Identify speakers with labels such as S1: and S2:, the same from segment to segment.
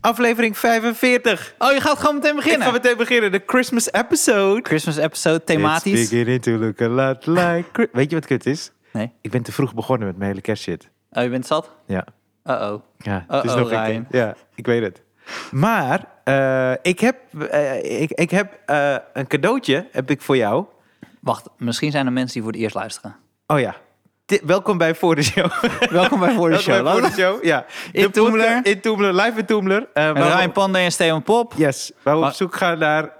S1: aflevering 45.
S2: Oh, je gaat gewoon meteen
S1: Ik ga
S2: beginnen.
S1: meteen beginnen, de Christmas episode.
S2: Christmas episode,
S1: It's
S2: thematisch.
S1: beginning to look a lot like... Chri- Weet je wat kut is?
S2: Nee.
S1: Ik ben te vroeg begonnen met mijn hele kerstshit.
S2: Oh, je bent zat?
S1: Ja.
S2: Uh-oh.
S1: Ja, het is
S2: Uh-oh,
S1: nog een
S2: Ryan.
S1: keer. Ja, ik weet het. Maar eh, ik heb, eh, ik, ik heb eh, een cadeautje heb ik voor jou.
S2: Wacht, misschien zijn er mensen die voor het eerst luisteren.
S1: Oh ja. Ti- welkom bij Voor de Show.
S2: Welkom bij Voor de
S1: Welkom
S2: Show.
S1: bij Voor de
S2: Laten-
S1: Show. Ja.
S2: In
S1: De
S2: Toemler.
S1: podcast- In Toemler, live in Toemler. Eh,
S2: Met
S1: waar we-
S2: Ryan Pandey en Steven Pop.
S1: Yes, waar we op
S2: Maar-
S1: zoek gaan naar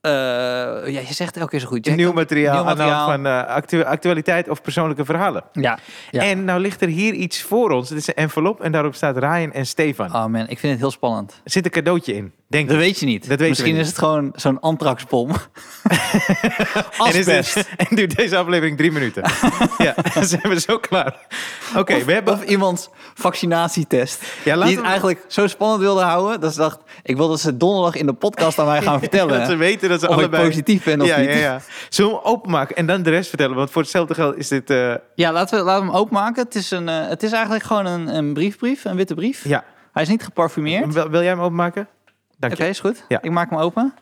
S2: Eh, ja, je zegt elke keer zo goed. Jack.
S1: nieuw materiaal,
S2: Nieuw
S1: aan de hand
S2: materiaal.
S1: van eh, actu- actualiteit of persoonlijke verhalen.
S2: Ja. ja.
S1: En nou ligt er hier iets voor ons. Het is een envelop en daarop staat Ryan en Stefan.
S2: Oh man, ik vind het heel spannend.
S1: Er zit een cadeautje in, denk
S2: Dat
S1: ik.
S2: weet je niet.
S1: Dat weten we
S2: misschien
S1: niet.
S2: is het gewoon zo'n antraxbom.
S1: En, is
S2: Asbest.
S1: dit- en duurt deze aflevering drie minuten. ja, dan zijn we zo klaar. Oké, we hebben...
S2: Of iemands vaccinatietest.
S1: Ja, laten
S2: die het
S1: we-
S2: eigenlijk zo spannend wilde houden. Dat ze dacht, ik wil dat ze donderdag in de podcast aan mij gaan vertellen.
S1: dat ze weten dat ze
S2: eh, of ik
S1: allebei...
S2: positief ben of
S1: ja,
S2: niet.
S1: Ja, ja. Zullen we hem openmaken en dan de rest vertellen? Want voor hetzelfde geld is dit... eh,
S2: Ja, laten we, laten we hem openmaken. Het is, een, eh, het is eigenlijk gewoon een, een briefbrief, een witte brief.
S1: Ja.
S2: Hij is niet geparfumeerd. Oké,
S1: Wil, wil jij hem openmaken? Dank je.
S2: is goed.
S1: Ja.
S2: Ik maak hem open.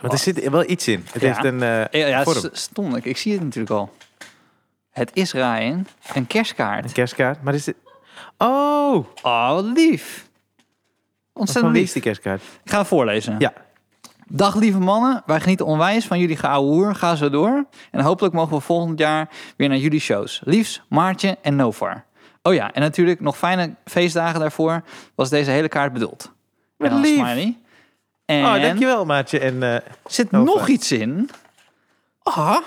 S1: Want er zit wel iets in. Het
S2: Ja.
S1: heeft een eh,
S2: Ja, ja
S1: vorm.
S2: st- stom. Ik, ik zie het natuurlijk al. Het is Ryan. Een kerstkaart.
S1: Een kerstkaart. Maar is dit... Oh!
S2: Oh, wat lief.
S1: Van
S2: Ontzettend
S1: wie is die
S2: lief.
S1: kerstkaart?
S2: Ik ga hem voorlezen.
S1: Ja.
S2: Dag lieve mannen, wij genieten onwijs van jullie geouwehoer. Ga zo door. En hopelijk mogen we volgend jaar weer naar jullie shows. Liefs, Maartje en Novar. Oh ja, en natuurlijk nog fijne feestdagen daarvoor was deze hele kaart bedoeld.
S1: Wat
S2: En dan een
S1: lief.
S2: smiley. En
S1: Oh, dankjewel, maatje. En eh,
S2: zit
S1: Novar.
S2: nog iets in. Ah, van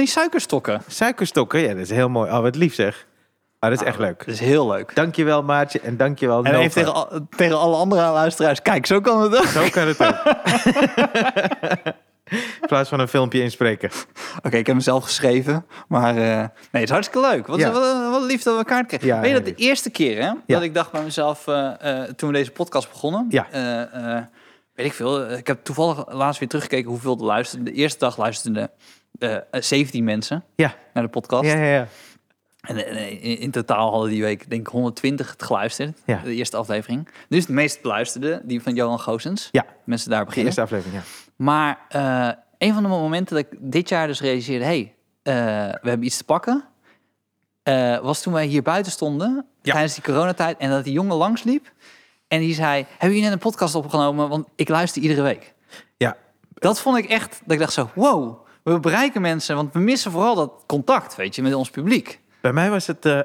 S2: die suikerstokken.
S1: suikerstokken. Ja, dat is heel mooi. Oh, wat lief zeg. Ah, dat is echt leuk.
S2: Dat is heel leuk.
S1: Dankjewel, maatje. En dankjewel,
S2: En
S1: Nova.
S2: even tegen, al- tegen alle andere luisteraars. Kijk, zo kan het ook.
S1: Zo kan het ook. In plaats van een filmpje inspreken.
S2: Oké, ik heb hem zelf geschreven. Maar eh, nee, het is hartstikke leuk. Wat,
S1: Ja.
S2: wat, wat lief dat we elkaar kregen.
S1: Ja,
S2: Weet je dat
S1: heel
S2: de eerste keer hè,
S1: Ja.
S2: dat ik dacht bij mezelf, eh, eh, toen we deze podcast begonnen.
S1: Ja.
S2: eh, eh, weet ik veel. eh, Ik heb toevallig laatst weer teruggekeken hoeveel er luisterden. De eerste dag luisterden eh, eh, 17 mensen
S1: Ja.
S2: naar de podcast.
S1: Ja, ja, ja.
S2: En eh, in, in totaal hadden die week denk ik 120 het geluisterd.
S1: Ja.
S2: De eerste aflevering. Dus de meest beluisterde, die van Johan Goossens.
S1: Ja,
S2: Mensen daar
S1: de
S2: beginnen.
S1: eerste aflevering, ja.
S2: Maar eh, een van de momenten dat ik dit jaar dus realiseerde... hey, eh, we hebben iets te pakken... eh, was toen wij hier buiten stonden
S1: Ja.
S2: tijdens die coronatijd... en dat die jongen langsliep en die zei... hebben jullie net een podcast opgenomen? Want ik luister iedere week.
S1: Ja,
S2: Dat vond ik echt... dat ik dacht zo, wow, we bereiken mensen... want we missen vooral dat contact, weet je, met ons publiek.
S1: bij mij was het eh,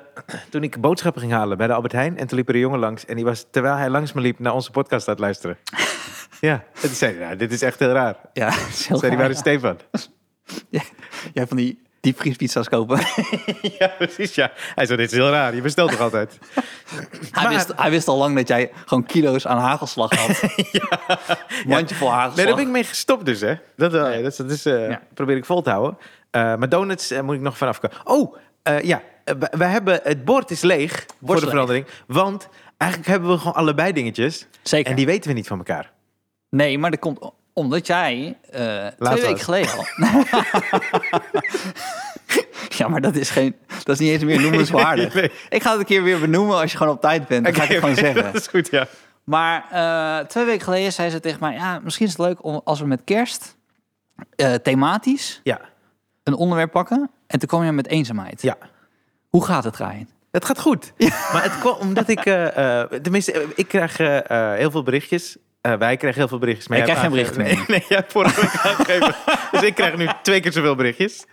S1: toen ik boodschappen ging halen bij de Albert Heijn. En toen liep er een jongen langs. En die was, terwijl hij langs me liep, naar onze podcast aan het luisteren. ja, en toen zei hij, nou, dit is echt heel raar. Toen
S2: Ja, dat is
S1: zei
S2: heel
S1: hij,
S2: raar.
S1: waar is Stefan?
S2: Ja, Jij van die diepvriespizza's kopen.
S1: ja, precies, ja. Hij zei, dit is heel raar. Je bestelt toch altijd?
S2: hij, wist, hij wist al lang dat jij gewoon kilo's aan hagelslag had. Mandje vol hagelslag.
S1: Nee, daar ben ik mee gestopt dus, hè. Dat, wel, ja, dat, is- dat is, eh,
S2: Ja.
S1: probeer ik vol te houden. Eh, maar donuts eh, moet ik nog vanaf komen. Oh, eh, ja. eh, we- we hebben, het bord is leeg voor de
S2: leeg.
S1: verandering. Want eigenlijk hebben we gewoon allebei dingetjes.
S2: Zeker.
S1: En die weten we niet van elkaar.
S2: Nee, maar dat komt o- omdat jij eh,
S1: was.
S2: twee weken geleden al. ja, maar dat is geen, dat is niet eens meer noemenswaardig.
S1: Nee.
S2: Ik ga het een keer weer benoemen als je gewoon op tijd bent. Dan ga ik het gewoon zeggen.
S1: dat is goed, ja.
S2: Maar eh, twee weken geleden zei ze tegen mij: ja, misschien is het leuk om als we met Kerst eh, thematisch
S1: Ja,
S2: een onderwerp pakken. En toen kwam je met eenzaamheid.
S1: ja.
S2: Hoe gaat het, Ryan?
S1: Het gaat goed. Maar het kwam omdat ik... eh, eh, tenminste, eh, ik krijg eh, eh, heel veel berichtjes. Eh, wij krijgen heel veel berichtjes. Maar
S2: Ik
S1: jij
S2: krijg
S1: hebt
S2: geen
S1: aangegeven-
S2: berichten
S1: Nee, nee, jij hebt vorige week aangegeven. Dus ik krijg nu twee keer zoveel berichtjes.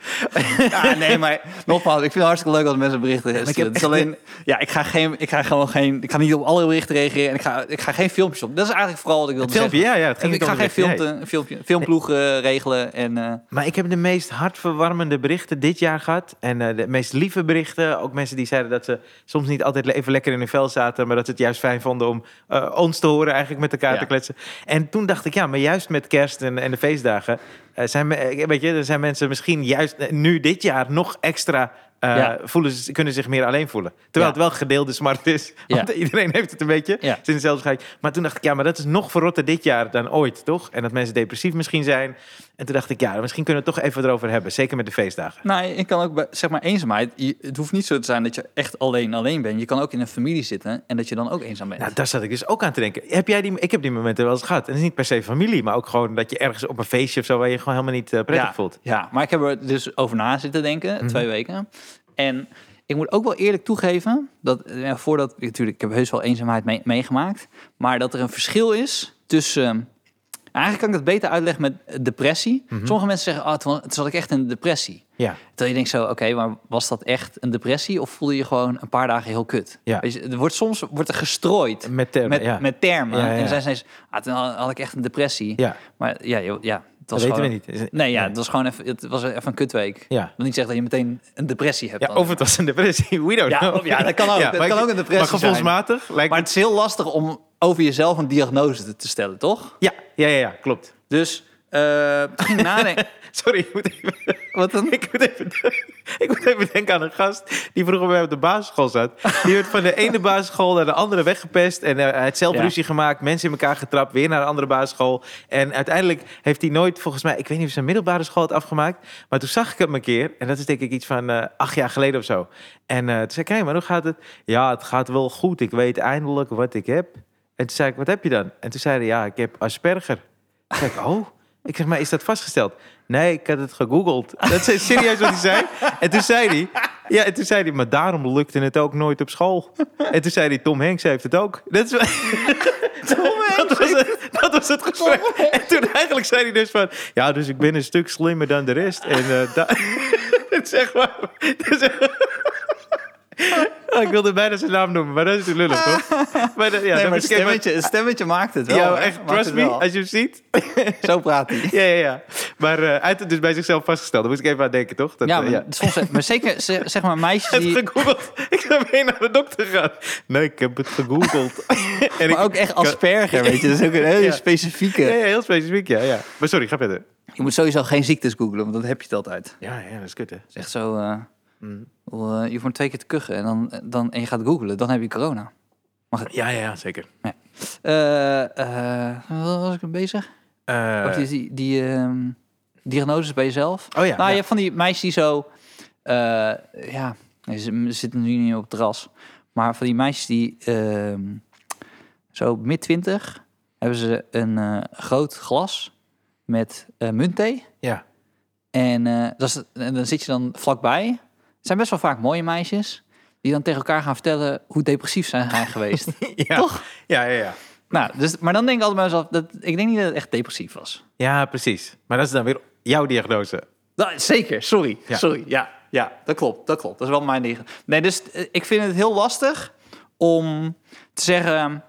S2: Ja, nee, maar nogmaals, ik vind het hartstikke leuk als mensen berichten
S1: ik heb
S2: sturen. Het is
S1: echt
S2: alleen, ja, ik ga, geen, ik ga gewoon geen, ik ga niet op alle berichten reageren en ik ga, ik ga geen filmpjes op. Dat is eigenlijk vooral wat ik wilde
S1: filmpje,
S2: zeggen.
S1: ja, ja, het ging
S2: ik,
S1: niet
S2: ga
S1: om
S2: geen
S1: de berichten,
S2: filmpje, filmpje, filmploeg eh, regelen en eh,
S1: Maar ik heb de meest hartverwarmende berichten dit jaar gehad. En eh, de meest lieve berichten. Ook mensen die zeiden dat ze soms niet altijd le- even lekker in hun vel zaten. Maar dat ze het juist fijn vonden om eh, ons te horen eigenlijk met elkaar
S2: Ja.
S1: te kletsen. En toen dacht ik, ja, maar juist met kerst en, en de feestdagen. eh, zijn, me- eh, weet je, er zijn mensen misschien juist eh, nu dit jaar nog extra eh, eh,
S2: Ja.
S1: voelen ze, kunnen zich meer alleen voelen. Terwijl
S2: Ja.
S1: het wel gedeelde smart is.
S2: Ja.
S1: Want iedereen heeft het een beetje.
S2: Ja.
S1: Sinds zelfs ga ik. Maar toen dacht ik, ja, maar dat is nog verrotter dit jaar dan ooit, toch? En dat mensen depressief misschien zijn. En toen dacht ik, ja, misschien kunnen we het toch even erover hebben. Zeker met de feestdagen.
S2: Nou, ik kan ook bij, zeg maar eenzaamheid. Je, het hoeft niet zo te zijn dat je echt alleen alleen bent. Je kan ook in een familie zitten en dat je dan ook eenzaam bent.
S1: Nou, daar zat ik dus ook aan te denken. Heb jij die, ik heb die momenten wel eens gehad. En het is niet per se familie, maar ook gewoon dat je ergens op een feestje of zo... waar je gewoon helemaal niet eh, prettig Mhm.
S2: ja,
S1: voelt.
S2: Ja, maar ik heb er dus over na zitten denken, twee weken. En ik moet ook wel eerlijk toegeven dat, eh, voordat, natuurlijk, ik heb heus wel eenzaamheid mee- meegemaakt, maar dat er een verschil is tussen. eigenlijk kan ik dat beter uitleggen met eh, depressie.
S1: Mhm.
S2: Sommige mensen zeggen, ah, toen, toen zat ik echt in een depressie.
S1: Ja,
S2: Terwijl je denkt zo, oké, maar was dat echt een depressie of voelde je gewoon een paar dagen heel kut?
S1: Ja.
S2: Weet je, er wordt soms wordt er gestrooid
S1: met termen,
S2: met,
S1: ja.
S2: met termen.
S1: Ja, ja,
S2: En
S1: ja.
S2: dan zijn ze ineens, ah, toen had had ik echt een depressie.
S1: ja,
S2: Maar ja, joh, ja het
S1: dat
S2: was
S1: weten
S2: gewoon-
S1: we niet. Is-
S2: Nee, ja, het was gewoon even, het was even een kutweek.
S1: Ja.
S2: Dat wil niet zeggen dat je meteen een depressie hebt.
S1: Ja,
S2: dan.
S1: of het was een depressie, we don't
S2: Ja,
S1: know.
S2: of- ja, dat kan ook. Dat
S1: maar
S2: kan ook een depressie
S1: Maar gevoelsmatig lijkt
S2: maar het is heel lastig om over jezelf een diagnose te- te stellen, toch?
S1: Ja, ja, ja, ja, klopt.
S2: Dus eh, toen ging ik nadenken.
S1: Sorry, ik moet, even,
S2: Wat dan?
S1: ik, moet even, ik moet even denken aan een gast die vroeger bij mij op de basisschool zat. Die werd van de ene basisschool naar de andere weggepest. En eh, hij had zelf
S2: Ja.
S1: ruzie gemaakt, mensen in elkaar getrapt, weer naar een andere basisschool. En uiteindelijk heeft hij nooit, volgens mij, ik weet niet of zijn middelbare school had afgemaakt. Maar toen zag ik hem een keer, en dat is denk ik iets van eh, acht jaar geleden of zo. En eh, toen zei ik, hé, maar hoe gaat het? Ja, het gaat wel goed. Ik weet eindelijk wat ik heb. En toen zei ik, wat heb je dan? En toen zei hij, ja, ik heb Asperger. Toen zei ik, oh. Ik zeg, maar is dat vastgesteld? Nee, ik had het gegoogeld. Dat is serieus wat hij zei. En toen zei hij, ja, en toen zei hij, maar daarom lukte het ook nooit op school. En toen zei hij, Tom Hanks heeft het ook. Dat is, wel- dat was het, dat was het gesprek. En toen eigenlijk zei hij dus van... Ja, dus ik ben een stuk slimmer dan de rest. En eh da- dat zeg maar... dat is echt- Oh, ik wilde bijna zijn naam noemen, maar dat is natuurlijk lullig, toch? Maar, dat- ja, dan
S2: Nee, maar een
S1: moet ik even-
S2: stemmetje, een stemmetje maakt het wel.
S1: Ja,
S2: hoor.
S1: echt,
S2: Maakt
S1: trust
S2: het
S1: me,
S2: wel.
S1: als je hem ziet.
S2: Zo praat hij.
S1: Ja, ja, ja. Maar eh, hij had het dus bij zichzelf vastgesteld. Daar moest ik even aan denken, toch? Dat,
S2: Ja,
S1: eh,
S2: maar, Soms, maar zeker ze- zeg maar meisjes
S1: Ik heb
S2: die...
S1: het gegoogeld. Ik ben mee naar de dokter gaan. Nee, ik heb het gegoogeld. en ik-
S2: Maar ook echt asperger, weet je. Dat is ook een hele
S1: Ja.
S2: specifieke...
S1: Ja, ja, heel specifiek, ja, ja. Maar sorry, ga verder.
S2: Je moet sowieso geen ziektes googlen, want dan heb je het altijd. Het
S1: Ja, ja, dat is kut, hè.
S2: is echt zo... eh,
S1: Mm.
S2: wel, eh, je hoeft maar twee keer te kuchen en, dan, dan, en je gaat googlen. Dan heb je corona.
S1: Ja, ja, ja, zeker.
S2: Eh, eh, wat was ik mee bezig?
S1: Eh,
S2: Of die, die, die ehm, diagnoses bij jezelf.
S1: Oh ja,
S2: Nou, je
S1: ja.
S2: hebt van die meisjes die zo... eh, ja, nee, ze zitten nu niet op het terras. Maar van die meisjes die ehm, zo mid twintig... hebben ze een eh, groot glas met eh, muntthee.
S1: ja.
S2: En, eh, dat is, en dan zit je dan vlakbij. Het zijn best wel vaak mooie meisjes... die dan tegen elkaar gaan vertellen hoe depressief ze zijn geweest.
S1: Ja.
S2: Toch?
S1: Ja, ja, ja.
S2: Nou, dus, maar dan denk ik altijd bij mezelf, dat, ik denk niet dat het echt depressief was.
S1: Ja, precies. Maar dat is dan weer jouw diagnose.
S2: Nou, zeker, sorry.
S1: Ja.
S2: Sorry, ja, ja, dat klopt, dat klopt. Dat is wel mijn ding. Nee, dus eh, ik vind het heel lastig om te zeggen,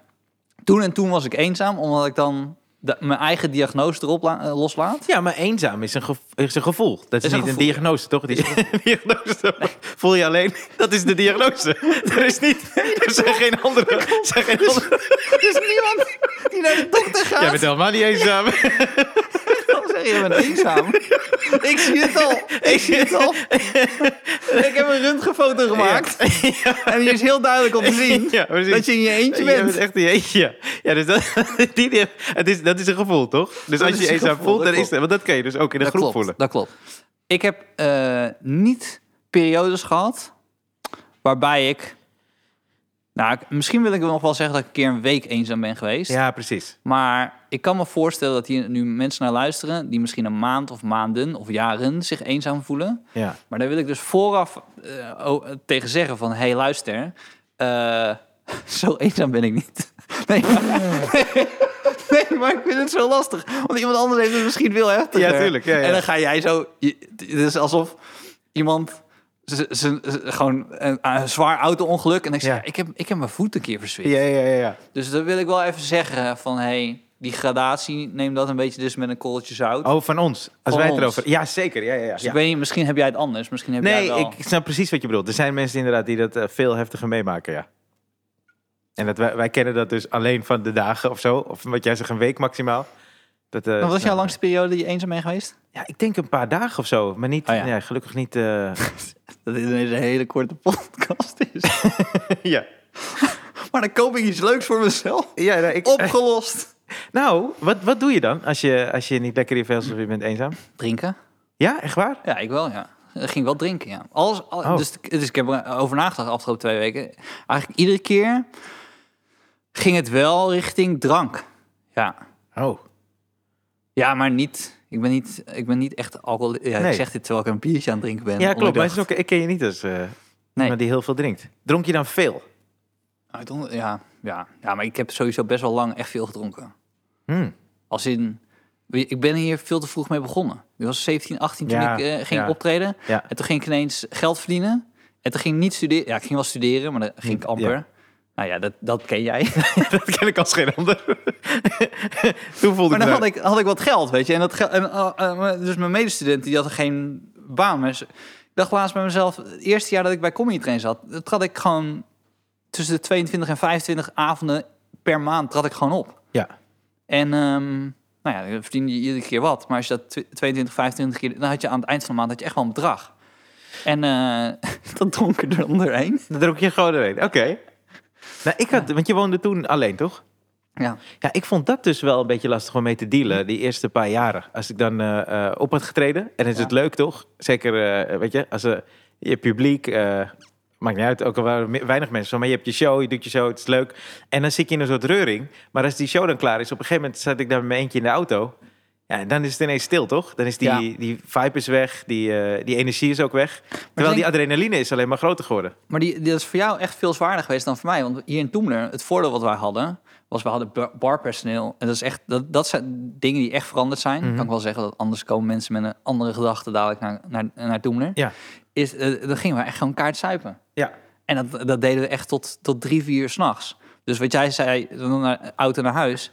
S2: toen en toen was ik eenzaam, omdat ik dan de- mijn eigen diagnose erop la- eh, loslaat.
S1: Ja, maar eenzaam is een, gevo- is een gevoel. Dat is,
S2: Is een
S1: niet een
S2: gevoel,
S1: diagnose, toch? Die diagnose. Voel je alleen? Dat is de diagnose. Er is niet... Er zijn geen andere... er Zijn geen andere...
S2: Er is niemand die naar de dokter gaat.
S1: Jij bent helemaal niet eenzaam.
S2: Dan zeg je, je bent eenzaam. ik zie het al. Ik zie het al. ik heb een röntgenfoto gemaakt. En die is heel duidelijk om te zien
S1: Ja, precies.
S2: dat je in je eentje
S1: Jij
S2: bent.
S1: bent echt een eentje. Ja, dus dat, die, die- het is, dat is een gevoel, toch? Dus als
S2: is
S1: je je
S2: een
S1: eenzaam
S2: gevoel,
S1: voelt,
S2: dat
S1: dan is
S2: klopt.
S1: dat... Want dat kan je dus ook in een
S2: dat
S1: groep
S2: klopt,
S1: voelen.
S2: Dat klopt. Ik heb eh, niet periodes gehad waarbij ik... Nou, ik- misschien wil ik nog wel zeggen dat ik een keer een week eenzaam ben geweest.
S1: Ja, precies.
S2: Maar ik kan me voorstellen dat hier nu mensen naar luisteren... die misschien een maand of maanden of jaren zich eenzaam voelen.
S1: Ja.
S2: Maar daar wil ik dus vooraf eh, o- eh, tegen zeggen van... hé, hey, luister, eh, zo eenzaam ben ik niet. Nee maar, nee, maar ik vind het zo lastig. Want iemand anders heeft het misschien veel heftiger.
S1: Ja, tuurlijk, ja, ja.
S2: En dan ga jij zo... je- Het is alsof iemand... z- z- z- gewoon een, een zwaar auto-ongeluk. En ik zeg,
S1: Ja.
S2: ik, heb, ik heb mijn voet een keer verzwikt.
S1: Ja, ja, ja, ja.
S2: Dus dat wil ik wel even zeggen van... hé, hey, die gradatie, neem dat een beetje dus met een korreltje zout.
S1: Oh, van ons. Als
S2: Van
S1: wij
S2: ons.
S1: het erover... Ja, zeker. Ja, ja, ja.
S2: Dus
S1: Ja.
S2: ik weet niet, misschien heb jij het anders. Misschien heb jij
S1: Nee,
S2: het wel.
S1: ik snap precies wat je bedoelt. Er zijn mensen inderdaad die dat eh, veel heftiger meemaken, ja. En dat wij, wij kennen dat dus alleen van de dagen of zo. Of wat jij zegt, een week maximaal. Dat, eh,
S2: Wat was
S1: snel.
S2: jouw langste periode die je eenzaam bent geweest?
S1: Ja, ik denk een paar dagen of zo. Maar niet,
S2: Oh, ja.
S1: ja. gelukkig niet... eh,
S2: Dat dit ineens een hele korte podcast is.
S1: ja.
S2: maar dan koop ik iets leuks voor mezelf.
S1: Ja, nou, ik,
S2: Opgelost.
S1: nou wat, wat doe je dan als je, als je niet lekker in vel zit of je bent eenzaam?
S2: Drinken?
S1: Ja, echt waar?
S2: Ja, ik wel, ja. Ik ging wel drinken, ja. Alles, al-
S1: Oh.
S2: dus, dus ik heb erover nagedacht de afgelopen twee weken. Eigenlijk iedere keer ging het wel richting drank. Ja.
S1: Oh.
S2: Ja, maar niet. Ik ben niet, ik ben niet echt alcohol. Ja,
S1: Nee.
S2: Ik zeg dit terwijl ik een biertje aan het drinken ben.
S1: Ja, klopt. Maar het
S2: onbedacht.
S1: is ook, ik ken je niet als eh
S2: Nee.
S1: iemand die heel veel drinkt. Dronk je dan veel?
S2: Uit onder- Nou, ja, ja, ja, maar ik heb sowieso best wel lang echt veel gedronken.
S1: Hmm.
S2: Als in, ik ben hier veel te vroeg mee begonnen. Ik was 17, 18 toen
S1: Ja,
S2: ik eh, ging
S1: ja.
S2: optreden.
S1: Ja.
S2: En toen ging ik ineens geld verdienen. En toen ging ik niet studeren. Ja, ik ging wel studeren, maar dan ging ik amper.
S1: Hmm, Ja.
S2: Nou ja, dat, dat ken jij.
S1: dat ken ik als geen ander. Toen voelde
S2: Maar
S1: ik me-
S2: dan had ik, had ik wat geld, weet je. En dat geld, en, eh, eh, dus mijn medestudent die had geen baan. Maar ze- ik dacht laatst bij mezelf, het eerste jaar dat ik bij Comedy Train zat, dat trad ik gewoon tussen de 22 en 25 avonden per maand trad ik gewoon op.
S1: Ja.
S2: En ehm, nou ja, dan verdiende je iedere keer wat. Maar als je dat tw- 22, 25 keer, dan had je aan het eind van de maand had je echt wel een bedrag. En eh dat dronk ik er onderheen.
S1: Dan dronk je gewoon erin. Oké. Nou, ik had, want je woonde toen alleen, toch?
S2: Ja.
S1: Ja, ik vond dat dus wel een beetje lastig om mee te dealen, die eerste paar jaren. Als ik dan eh, eh, op had getreden, en is
S2: Ja.
S1: het leuk toch? Zeker, eh, weet je, als eh, je publiek, eh, maakt niet uit, ook al waren er me- weinig mensen, zo, maar je hebt je show, je doet je show, het is leuk. En dan zit je in een soort reuring. Maar als die show dan klaar is, op een gegeven moment zat ik daar met mijn eentje in de auto. Ja, en dan is het ineens stil, toch? Dan is die,
S2: Ja.
S1: die vibe is weg, die, eh, die energie is ook weg. Terwijl
S2: denk-
S1: die adrenaline is alleen maar groter geworden.
S2: Maar die, die is voor jou echt veel zwaarder geweest dan voor mij. Want hier in Toemler, het voordeel wat wij hadden, was we hadden bar- barpersoneel. En dat, is echt, dat, dat zijn dingen die echt veranderd zijn. Kan ik wel zeggen, dat anders komen mensen met een andere gedachte dadelijk naar, naar, naar Toemler.
S1: Ja,
S2: Is, eh, dan gingen we echt gewoon kaart zuipen.
S1: ja.
S2: En dat, dat deden we echt tot, tot drie, vier uur s'nachts. Dus wat jij zei, dan naar, auto naar huis.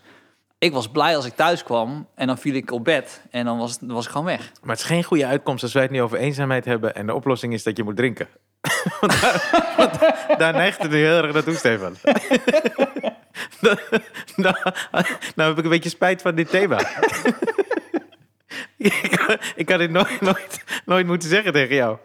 S2: Ik was blij als ik thuis kwam en dan viel ik op bed en dan was, was ik gewoon weg.
S1: Maar het is geen goede uitkomst als wij het nu over eenzaamheid hebben en de oplossing is dat je moet drinken. Want daar, want daar neigt het nu heel erg naartoe, Stefan. nou, nou, nou heb ik een beetje spijt van dit thema. ik, ik had dit nooit, nooit, nooit moeten zeggen tegen jou.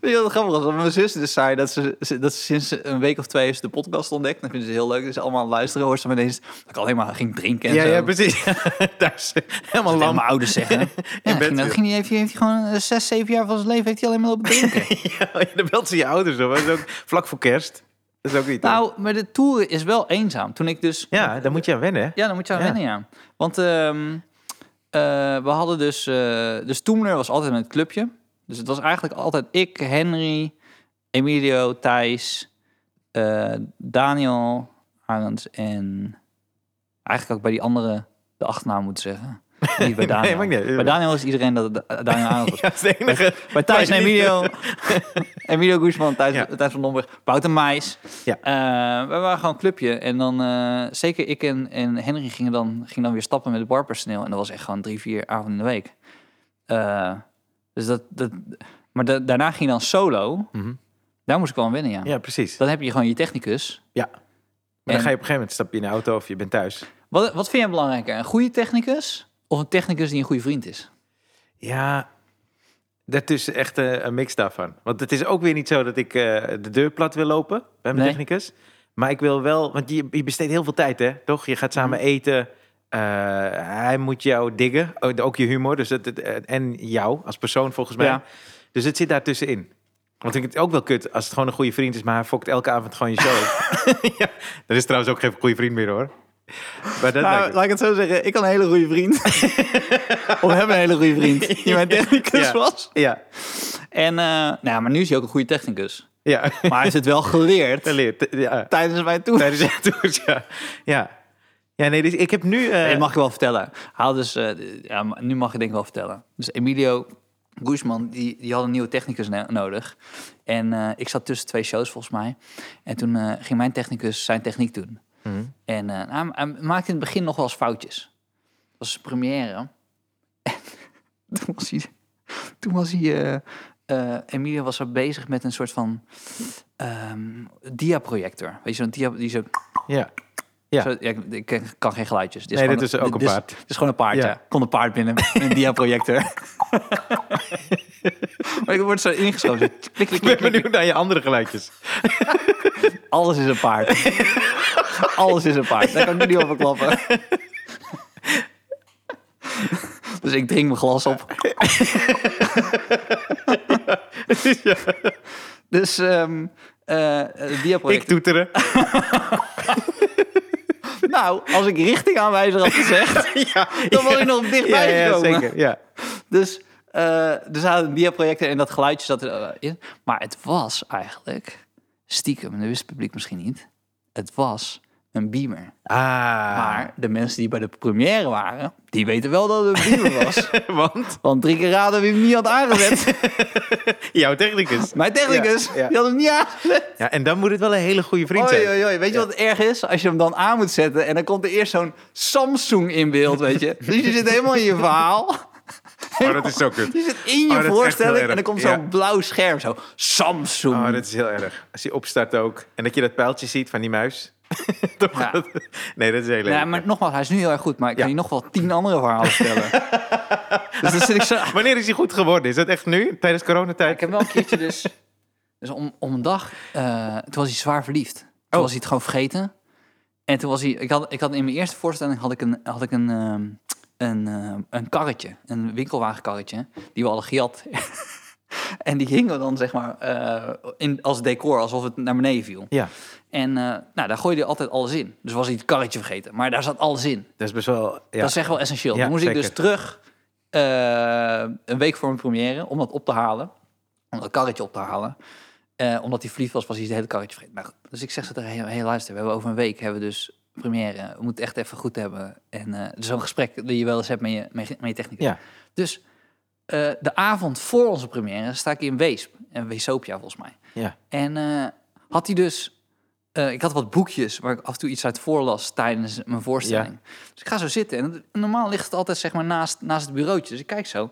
S2: Weet je wat grappig was? Want Mijn zus dus zei dat ze, ze- dat ze sinds een week of twee heeft ze de podcast ontdekt. Dan vinden ze het heel leuk. Dus allemaal aan het luisteren hoort ze me ineens dat ik alleen maar ging drinken en
S1: Ja,
S2: zo.
S1: ja, precies. Thuis, helemaal
S2: Dat tegen
S1: lam.
S2: mijn ouders zeggen. ja, ging,
S1: bed
S2: dat-
S1: weer.
S2: ging die, heeft, heeft hij gewoon eh, zes, zeven jaar van zijn leven heeft hij alleen maar lopen drinken.
S1: Ja, dan belt ze je ouders op. Dat is ook vlak voor kerst. Dat is ook niet.
S2: nou, maar de toeren is wel eenzaam. Toen ik dus...
S1: ja, daar moet je aan wennen. hè?
S2: Ja, dan moet je aan
S1: Ja.
S2: wennen, ja. Want ehm, eh, we hadden dus... eh dus Toemler was altijd met het clubje. Dus het was eigenlijk altijd ik, Henry, Emilio, Thijs, eh, Daniel, Arends en... Eigenlijk ook bij die andere de achternaam moeten zeggen. Niet bij Daniel.
S1: maakt niet uit.
S2: Bij Daniel is iedereen dat het Da- Daniel Arends was.
S1: Ja, dat is de enige.
S2: Bij Thijs en
S1: Waar je niet-
S2: Emilio. Emilio Guzman, Thijs,
S1: Ja.
S2: Thijs van Domburg, Wouter Meijs.
S1: Ja.
S2: Eh, we waren gewoon een clubje. En dan, eh, zeker ik en, en Henry gingen dan, gingen dan weer stappen met het barpersoneel. En dat was echt gewoon drie, vier avonden in de week. Eh, dus dat, dat, maar da- daarna ging dan solo.
S1: Mhm.
S2: Daar moest ik wel aan wennen, ja.
S1: Ja, precies.
S2: Dan heb je gewoon je technicus.
S1: Ja. Maar
S2: En-
S1: dan ga je op een gegeven moment stap je in de auto of je bent thuis.
S2: Wat, wat vind jij belangrijker? Een goede technicus of een technicus die een goede vriend is?
S1: Ja, daartussen echt eh, een mix daarvan. Want het is ook weer niet zo dat ik eh, de deur plat wil lopen bij mijn
S2: Nee.
S1: technicus. Maar ik wil wel, want je, je besteedt heel veel tijd, hè? Toch? Je gaat samen
S2: Mhm.
S1: eten. eh, hij moet jou diggen. Ook- Ook je humor. Dus het, het- eh, en jou als persoon, volgens mij.
S2: Ja.
S1: Dus het zit daartussenin. Want ik vind het ook wel kut als het gewoon een goede vriend is, maar hij fokt elke avond gewoon je show. op. ja, dat is trouwens ook geen goede vriend meer hoor. Maar
S2: Nou,
S1: dat lijkt me-
S2: laat ik het zo zeggen. Ik had een hele goede vriend. of heb een hele goede vriend. Die mijn technicus
S1: Ja.
S2: was.
S1: Ja,
S2: En, eh, nou ja, maar nu is hij ook een goede technicus.
S1: ja.
S2: Maar hij heeft het wel geleerd
S1: Leert, ja.
S2: tijdens mijn tour.
S1: Tijdens de tours, ja. Ja, ja nee, dus ik heb nu... eh,
S2: Dat mag je wel vertellen. Haal dus, eh, ja, maar nu mag je denk ik wel vertellen. Dus Emilio Guzman, die, die had een nieuwe technicus no- nodig. En eh, ik zat tussen twee shows volgens mij. En toen eh, ging mijn technicus zijn techniek doen.
S1: Mhm.
S2: En eh, hij, hij maakte in het begin nog wel eens foutjes. Het was zijn première. En toen was hij... Toen was hij eh, eh, Emilio was er bezig met een soort van ehm diaprojector. Weet je, zo'n dia die zo
S1: Ja. Ja.
S2: Zo, ja ik, ik kan geen geluidjes. Dit
S1: Nee,
S2: gewoon
S1: dit is ook een paard.
S2: Dit is, dit is gewoon een paard, ja.
S1: Ja.
S2: Kon een paard binnen met een diaprojector. maar ik word zo ingeschoten. Klik, klik, klik,
S1: Ik
S2: klik,
S1: ben benieuwd naar je andere geluidjes.
S2: Alles is een paard. Alles is een paard. Daar kan ik nu niet over klappen. Dus ik drink mijn glas op. Dus ehm eh het
S1: Ik
S2: diaproject.
S1: toeteren.
S2: Nou, als ik richtingaanwijzer had gezegd,
S1: ja,
S2: dan was ik nog
S1: ja,
S2: dichtbij
S1: ja,
S2: gekomen.
S1: zeker. Ja.
S2: Dus eh er zaten diaprojecten en dat geluidje zat er eh, in. Maar het was eigenlijk, stiekem, en dat wist het publiek misschien niet, het was een beamer.
S1: Ah,
S2: Maar de mensen die bij de première waren, die weten wel dat het een beamer was.
S1: want
S2: Want drie keer raden wie hem niet had aangezet.
S1: jouw technicus.
S2: Mijn technicus,
S1: Ja, ja.
S2: die had hem niet aangezet.
S1: Ja, en dan moet het wel een hele goede vriend zijn.
S2: Oei, oei, oei. Weet je wat het erg is? Als je hem dan aan moet zetten en dan komt er eerst zo'n Samsung in beeld, weet je. Dus je zit helemaal in je verhaal.
S1: Oh, dat is zo kut.
S2: Je zit in je
S1: Oh, dat is echt heel
S2: voorstelling
S1: erg.
S2: en dan komt zo'n
S1: Ja.
S2: blauw scherm, zo Samsung.
S1: Oh, dat is heel erg. Als hij opstart ook. En dat je dat pijltje ziet van die muis. Toch?
S2: Ja.
S1: Nee, dat is heel erg.
S2: Ja, maar nogmaals, hij is nu heel erg goed, maar ik
S1: Ja.
S2: kan je nog wel tien andere verhalen vertellen. dus dan zit ik zo...
S1: Wanneer is hij goed geworden? Is dat echt nu? Tijdens
S2: Ik
S1: coronatijd?
S2: heb wel een keertje dus... Dus om, om een dag, eh, toen was hij zwaar verliefd. Toen
S1: Oh.
S2: was hij het gewoon vergeten. En toen was hij... Ik had, ik had in mijn eerste voorstelling had ik een, had ik een, ehm, een, ehm, een karretje. Een winkelwagenkarretje. Die we alle gejat. en die hingen dan zeg maar eh, in, als decor, alsof het naar beneden viel.
S1: Ja,
S2: En eh, nou, daar gooide hij altijd alles in. Dus was hij het karretje vergeten. Maar daar zat alles in.
S1: dat is best wel... Ja.
S2: Dat is echt wel essentieel.
S1: Ja,
S2: dan moest ik
S1: zeker.
S2: dus terug eh, een week voor mijn première om dat op te halen. Om dat karretje op te halen. Eh, omdat hij verliefd was, was hij het hele karretje vergeten. Nou, goed. dus ik zeg ze tegen hem, hey, luister, we hebben over een week hebben we dus première. We moeten echt even goed hebben. En eh, het is zo'n gesprek die je wel eens hebt met je, met je, met je technicus.
S1: Ja.
S2: Dus eh, de avond voor onze première sta ik in Weesp. En Weesopia volgens mij.
S1: ja.
S2: En eh, had hij dus... eh, ik had wat boekjes waar ik af en toe iets uit voorlas tijdens mijn voorstelling. Dus ik ga zo zitten. En het- normaal ligt het altijd zeg maar naast, naast het bureautje. Dus ik kijk zo.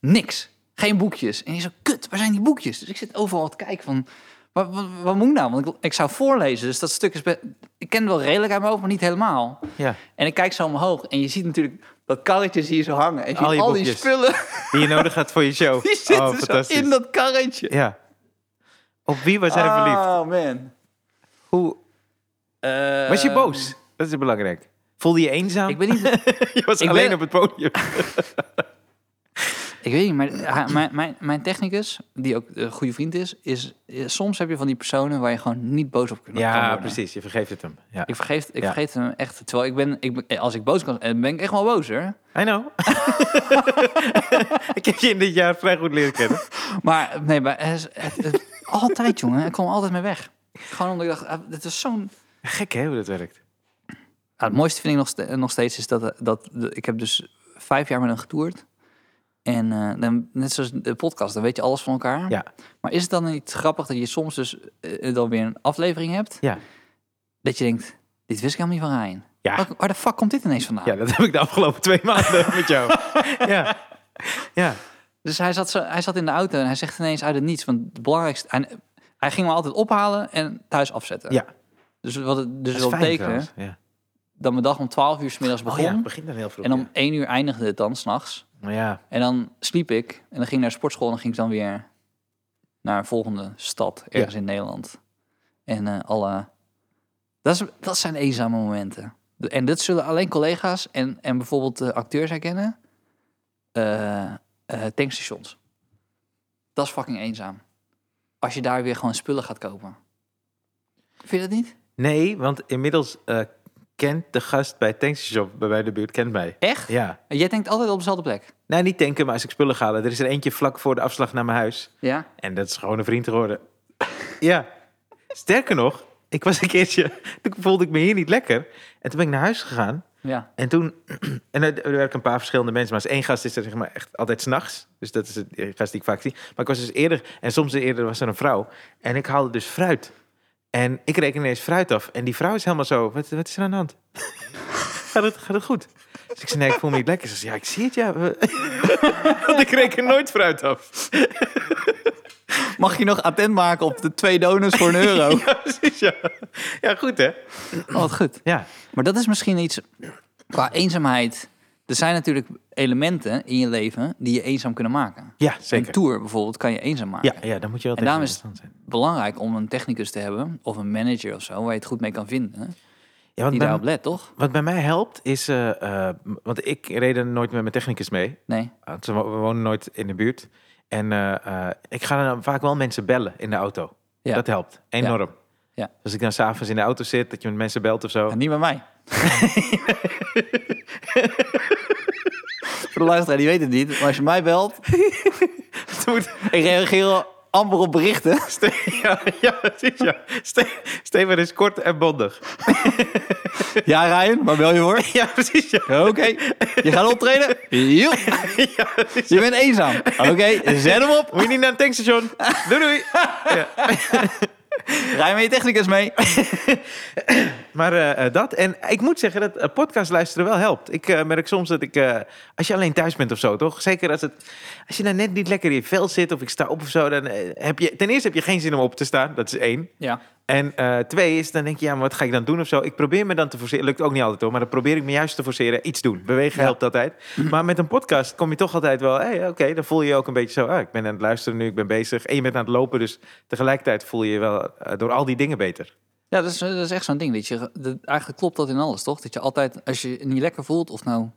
S2: Niks. Geen boekjes. En ik zo, kut, waar zijn die boekjes? Dus ik zit overal te kijken van... Wat, wat, wat moet ik nou? Want ik, ik zou voorlezen, dus dat stuk is... be- Ik ken het wel redelijk uit mijn hoofd, maar niet helemaal.
S1: ja.
S2: En ik kijk zo omhoog en je ziet natuurlijk dat karretje zie je zo hangen. En je
S1: Al
S2: ziet
S1: je
S2: al die
S1: boekjes.
S2: spullen,
S1: Die je nodig had voor je show.
S2: die zitten
S1: oh,
S2: zo
S1: fantastisch.
S2: in dat karretje.
S1: Ja. Op wie was hij verliefd?
S2: Oh, man.
S1: Hoe...
S2: Eh,
S1: Was je boos? Dat is belangrijk. Voelde je eenzaam?
S2: Ik ben niet...
S1: Je was
S2: ik
S1: alleen
S2: ben-
S1: op het podium.
S2: Ik weet niet, maar ha- mijn, mijn, mijn technicus, die ook een goede vriend is, is, is- soms heb je van die personen waar je gewoon niet boos op kunt kan
S1: Ja,
S2: worden.
S1: precies. Je vergeeft het hem. Ja.
S2: Ik vergeet, ik
S1: Ja.
S2: vergeet hem echt. Terwijl ik ben, ik, ben- als ik boos kan, eh, ben ik echt wel boos hoor.
S1: I know. ik heb je in dit jaar vrij goed leren kennen.
S2: Maar nee, maar het, is- het- het- altijd jongen, ik kwam er altijd mee weg. Gewoon omdat ik dacht, ah, dit is zo'n
S1: Gek hè, hoe dat werkt.
S2: Ja, het mooiste vind ik nog, ste- nog steeds is dat, eh, dat de- ik heb dus vijf jaar met hem getoerd. En eh, dan, net zoals de podcast, dan weet je alles van elkaar.
S1: Ja.
S2: Maar is het dan niet grappig dat je soms dus eh, dan weer een aflevering hebt...
S1: Ja.
S2: dat je denkt, dit wist ik helemaal niet van Ryan.
S1: Ja.
S2: Waar, waar de fuck komt dit ineens vandaan?
S1: Ja, dat heb ik de afgelopen twee maanden met jou. Ja. Ja.
S2: Dus hij zat, zo, hij zat in de auto en hij zegt ineens uit het niets... want het belangrijkste... Hij, hij ging me altijd ophalen en thuis afzetten.
S1: Ja.
S2: Dus wat het dus
S1: Dat
S2: wil
S1: is fijn
S2: betekenen
S1: trouwens. Ja.
S2: dat mijn dag om 12 uur 's middags
S1: Oh
S2: begon...
S1: ja, het begint dan heel vroeg.
S2: en om 1 uur eindigde het dan, s'nachts...
S1: ja. Ja.
S2: En dan sliep ik en dan ging ik naar de sportschool en dan ging ik dan weer naar een volgende stad ergens in Nederland. En eh, alle. Dat, is, dat zijn eenzame momenten. De- En dat zullen alleen collega's en, en bijvoorbeeld eh, acteurs herkennen. Eh, eh, tankstations. Dat is fucking eenzaam. Als je daar weer gewoon spullen gaat kopen. Vind je dat niet?
S1: Nee, want inmiddels eh, kent de gast bij tankstationshop bij mij in de buurt kent mij.
S2: Echt?
S1: Ja.
S2: Jij denkt altijd op dezelfde plek.
S1: Nou, niet tanken, maar als ik spullen ga halen. Er is er eentje vlak voor de afslag naar mijn huis.
S2: Ja.
S1: En dat is gewoon een vriend geworden. Ja. Sterker nog, ik was een keertje... Toen voelde ik me hier niet lekker. En toen ben ik naar huis gegaan.
S2: Ja.
S1: En toen, en er er werken een paar verschillende mensen, maar als één gast is er zeg maar echt altijd s'nachts. Dus dat is het eh, gast die ik vaak zie. Maar ik was dus eerder, en soms eerder was er een vrouw. En ik haalde dus fruit. En ik reken ineens fruit af. En die vrouw is helemaal zo, wat, wat is er aan de hand? gaat, het, gaat het goed? Dus ik zei, nee, ik voel me niet lekker. Ze zei, ja, ik zie het, ja. Want ik reken nooit fruit af.
S2: Mag je nog attent maken op de twee donuts voor een euro?
S1: Ja, precies. Ja. ja, goed hè?
S2: Oh, wat goed.
S1: Ja.
S2: Maar dat is misschien iets qua eenzaamheid. Er zijn natuurlijk elementen in je leven die je eenzaam kunnen maken.
S1: Ja,
S2: Een
S1: zeker.
S2: tour bijvoorbeeld kan je eenzaam maken.
S1: Ja, ja, dan moet je wel
S2: En daarom is-
S1: tegenstand zijn.
S2: Belangrijk om een technicus te hebben of een manager of zo waar je het goed mee kan vinden. hè?
S1: Ja, want
S2: Die
S1: bij-
S2: daarop let, toch?
S1: wat bij mij helpt is... eh, eh, m- want ik reed er nooit met mijn technicus mee.
S2: Nee.
S1: Want ze wo- we wonen nooit in de buurt. En eh, eh, ik ga dan vaak wel mensen bellen in de auto.
S2: Ja.
S1: Dat helpt enorm. Dus
S2: Ja.
S1: Als ik dan s'avonds in de auto zit, dat je met mensen belt of zo.
S2: En Ah, niet bij mij. Voor de luisteraar, die weet het niet. Maar als je mij belt,
S1: Het moet-
S2: ik reageer al amper op berichten.
S1: Ste- ja, ja, precies. Ja. Ste- Steven is kort en bondig.
S2: Ja, Ryan, waar bel je voor?
S1: Ja, precies. Ja.
S2: Oké, je gaat optreden? Joep. Je bent eenzaam. Oké, zet hem op.
S1: Moet je niet naar een tankstation? Doei doei.
S2: Rij met je technicus mee.
S1: Maar eh, eh, dat. En ik moet zeggen dat eh, podcast luisteren wel helpt. Ik eh, merk soms dat ik, eh, als je alleen thuis bent of zo, toch? Zeker als, het, als je nou net niet lekker in je vel zit of ik sta op of zo. Dan eh, heb je, ten eerste heb je geen zin om op te staan. Dat is één.
S2: Ja.
S1: En eh, twee is, dan denk je, ja, maar wat ga ik dan doen of zo? Ik probeer me dan te forceren. Lukt ook niet altijd hoor, maar dan probeer ik me juist te forceren. Iets doen. Bewegen
S2: Ja.
S1: helpt altijd. Maar met een podcast kom je toch altijd wel, hey, oké, dan voel je je ook een beetje zo. Ah, ik ben aan het luisteren nu, ik ben bezig. En je bent aan het lopen, dus tegelijkertijd voel je je wel eh, door al die dingen beter.
S2: Ja, dat is, dat is echt zo'n ding. Dat je, dat, eigenlijk klopt dat in alles, toch? Dat je altijd, als je je niet lekker voelt, of nou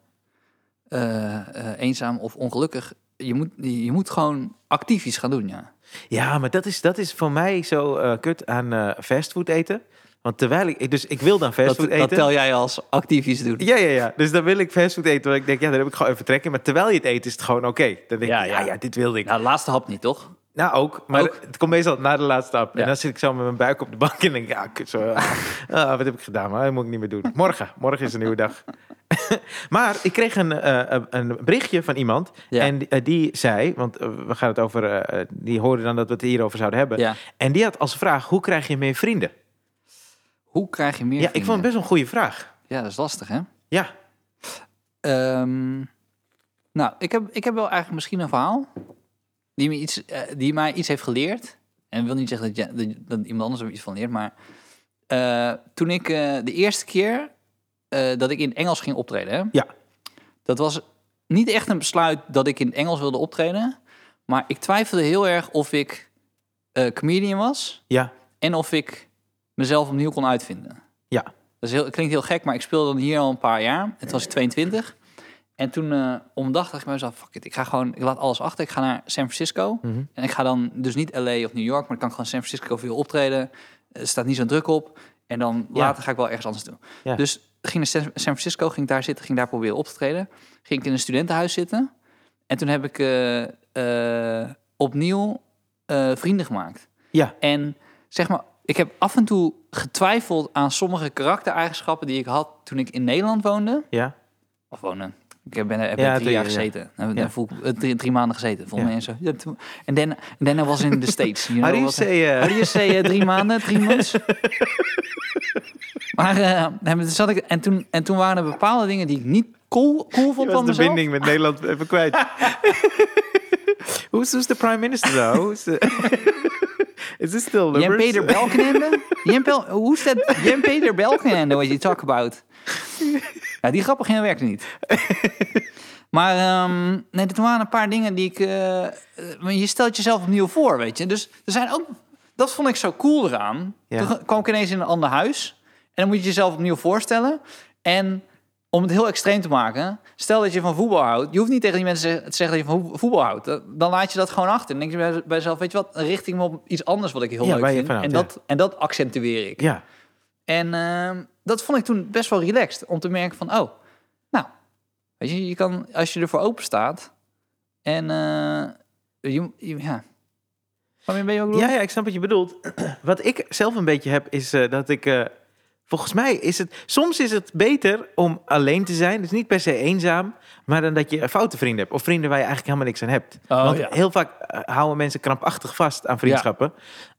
S2: eh, eh, eenzaam of ongelukkig, je moet, je moet gewoon actief iets gaan doen, ja.
S1: Ja, maar dat is, dat is voor mij zo eh, kut aan eh fastfood eten. Want terwijl ik, ik- dus ik wil dan
S2: Dat,
S1: fastfood
S2: dat
S1: eten.
S2: tel jij als actief iets doen.
S1: Ja, ja, ja. Dus dan wil ik fastfood eten. Want ik denk, ja, daar heb ik gewoon even trek in. Maar terwijl je het eet, is het gewoon oké. Dan denk
S2: Ja,
S1: ik,
S2: ja.
S1: ja, ja, dit wilde ik.
S2: Nou, de laatste hap niet, toch?
S1: Nou, ook. Maar
S2: Ook?
S1: het komt meestal na de laatste stap.
S2: Ja.
S1: En dan zit ik zo met mijn buik op de bank en denk ik, ja, kut, zo, ah, ah, wat heb ik gedaan? Maar dat moet ik niet meer doen. Morgen. Morgen is een nieuwe dag. maar ik kreeg een, eh, eh, een berichtje van iemand.
S2: Ja.
S1: En eh, die zei, want eh, we gaan het over... eh, eh, die hoorde dan dat we het hierover zouden hebben.
S2: Ja.
S1: En die had als vraag, hoe krijg je meer vrienden?
S2: Hoe krijg je meer
S1: ja, ik vond het
S2: vrienden?
S1: best wel een goede vraag.
S2: Ja, dat is lastig, hè?
S1: Ja,
S2: Ehm, nou, ik heb, ik heb wel eigenlijk misschien een verhaal die, me iets, eh, die mij iets heeft geleerd. En ik wil niet zeggen dat, jij- dat, dat iemand anders er iets van leert, maar eh, toen ik eh, de eerste keer eh, dat ik in Engels ging optreden, hè,
S1: Ja.
S2: dat was niet echt een besluit dat ik in Engels wilde optreden, maar ik twijfelde heel erg of ik eh, comedian was
S1: ja,
S2: en of ik mezelf opnieuw kon uitvinden.
S1: ja.
S2: Dat is heel, klinkt heel gek, maar ik speelde dan hier al een paar jaar. Het was ik 22. En toen eh om een dag dacht ik bij mezelf, fuck it, ik ga gewoon, ik laat alles achter. Ik ga naar San Francisco.
S1: Mhm.
S2: En ik ga dan dus niet LA of New York, maar dan kan ik gewoon San Francisco veel optreden. Er staat niet zo'n druk op. En dan
S1: Ja.
S2: later ga ik wel ergens anders doen.
S1: Ja.
S2: Dus ging naar San San Francisco, ging daar zitten, ging daar proberen op te treden. Ging ik in een studentenhuis zitten. En toen heb ik eh, eh, opnieuw eh, vrienden gemaakt.
S1: Ja.
S2: En zeg maar, ik heb af en toe getwijfeld aan sommige karaktereigenschappen die ik had toen ik in Nederland woonde.
S1: Ja,
S2: Of woonde. Ik ben er heb
S1: Ja,
S2: er drie
S1: drie
S2: jaar
S1: jaar, ja.
S2: gezeten. En
S1: Ja.
S2: dan voel ik- eh, drie, drie maanden gezeten. Volgens
S1: Ja.
S2: mij en zo. Ja, toen- En then, and then I was in the States. You know,
S1: How do you
S2: was-
S1: say, eh,
S2: How do you say, eh, drie maanden, drie months? maar eh, nee, maar toen zat ik, en, toen, en toen waren er bepaalde dingen die ik niet cool, cool
S1: je
S2: vond van
S1: was de
S2: mezelf.
S1: binding met Nederland even kwijt. Who's, who's the prime minister nou? now? Who's the- Is this still
S2: Jan
S1: Lubbers?
S2: Peter Belkenende? Jan Pel, who's that Jan Peter Belkenende what you talk about? Ja, die grappig ging werkte niet. Maar ehm, nee, er waren een paar dingen die ik... eh, eh, maar je stelt jezelf opnieuw voor, weet je. Dus er zijn ook... Dat vond ik zo cool eraan.
S1: Ja.
S2: Toen kwam ik ineens in een ander huis. En dan moet je jezelf opnieuw voorstellen. En om het heel extreem te maken... Stel dat je van voetbal houdt. Je hoeft niet tegen die mensen te zeggen dat je van voetbal houdt. Dan- Dan laat je dat gewoon achter. Dan denk je bij- bij jezelf, weet je wat? Richt ik me op iets anders wat ik heel
S1: Ja,
S2: leuk
S1: waar je
S2: vind.
S1: van
S2: En
S1: houdt,
S2: dat, en dat accentueer ik.
S1: Ja,
S2: En ehm, dat vond ik toen best wel relaxed. Om te merken van, oh, nou, weet je, je kan, als je ervoor open staat. En, eh, je, je- ja. Waarmee ben je ook
S1: Ja, ja, ik snap wat je bedoelt. Wat ik zelf een beetje heb, is eh, dat ik... eh, volgens mij is het... Soms is het beter om alleen te zijn. Dus niet per se eenzaam. Maar dan dat je foute vrienden hebt. Of vrienden waar je eigenlijk helemaal niks aan hebt.
S2: Oh,
S1: Want
S2: ja.
S1: heel vaak eh, houden mensen krampachtig vast aan vriendschappen.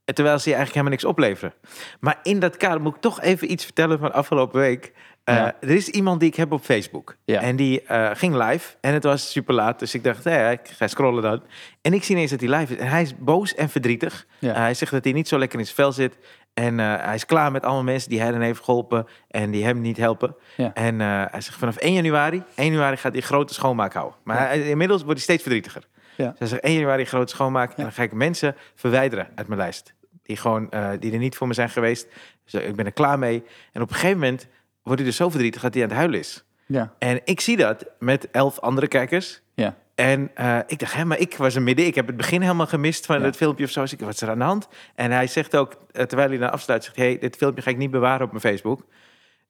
S1: eh, Terwijl ze je eigenlijk helemaal niks opleveren. Maar in dat kader moet ik toch even iets vertellen van afgelopen week. Eh,
S2: Ja.
S1: Er is iemand die ik heb op Facebook.
S2: Ja.
S1: En die eh, ging live. En het was super laat. Dus ik dacht, hé, ik ga scrollen dan. En ik zie ineens dat hij live is. En hij is boos en verdrietig.
S2: Ja.
S1: Eh, hij zegt dat hij niet zo lekker in zijn vel zit. En eh, hij is klaar met allemaal mensen die hij dan heeft geholpen. En die hem niet helpen.
S2: Ja.
S1: En eh, hij zegt, vanaf 1 januari, 1 januari gaat hij grote schoonmaak houden. Maar hij- inmiddels wordt hij steeds verdrietiger.
S2: Ja.
S1: Dus hij zegt, 1 januari grote schoonmaak. En dan ga ik mensen verwijderen uit mijn lijst. Die, gewoon, eh, die er niet voor me zijn geweest. Dus eh, ik ben er klaar mee. En op een gegeven moment wordt hij dus zo verdrietig dat hij aan het huilen is.
S2: Ja.
S1: En ik zie dat met elf andere kijkers.
S2: Ja.
S1: En eh, ik dacht, hè, maar ik was er midden. Ik heb het begin helemaal gemist van
S2: Ja.
S1: het filmpje of zo. Dus ik, wat is er aan de hand? En hij zegt ook, eh, terwijl hij dan afsluit, zegt, hey, dit filmpje ga ik niet bewaren op mijn Facebook.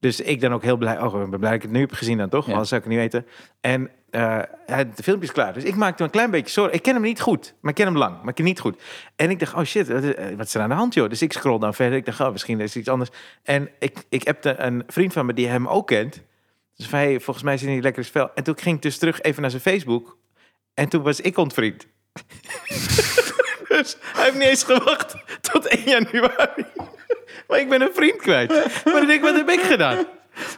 S1: Dus ik dan ook heel blij, oh, ik ben blij dat ik het nu heb gezien dan toch?
S2: Ja.
S1: Anders zou ik het niet weten. En eh het filmpje is klaar. Dus ik maakte me een klein beetje zorgen. Ik ken hem niet goed, maar ik ken hem lang, maar ik ken hem niet goed. En ik dacht, oh shit, wat is- eh, wat is er aan de hand, joh? Dus ik scroll dan verder. Ik dacht, oh, misschien is er iets anders. En ik, ik appte een vriend van me die hem ook kent. Dus van, hey, volgens mij zit hij niet lekker in het spel. En toen ging ik dus terug even naar zijn Facebook. En toen was ik ontvriend. dus hij heeft niet eens gewacht tot 1 januari. maar ik ben een vriend kwijt. Maar dan denk ik, wat heb ik gedaan? Wat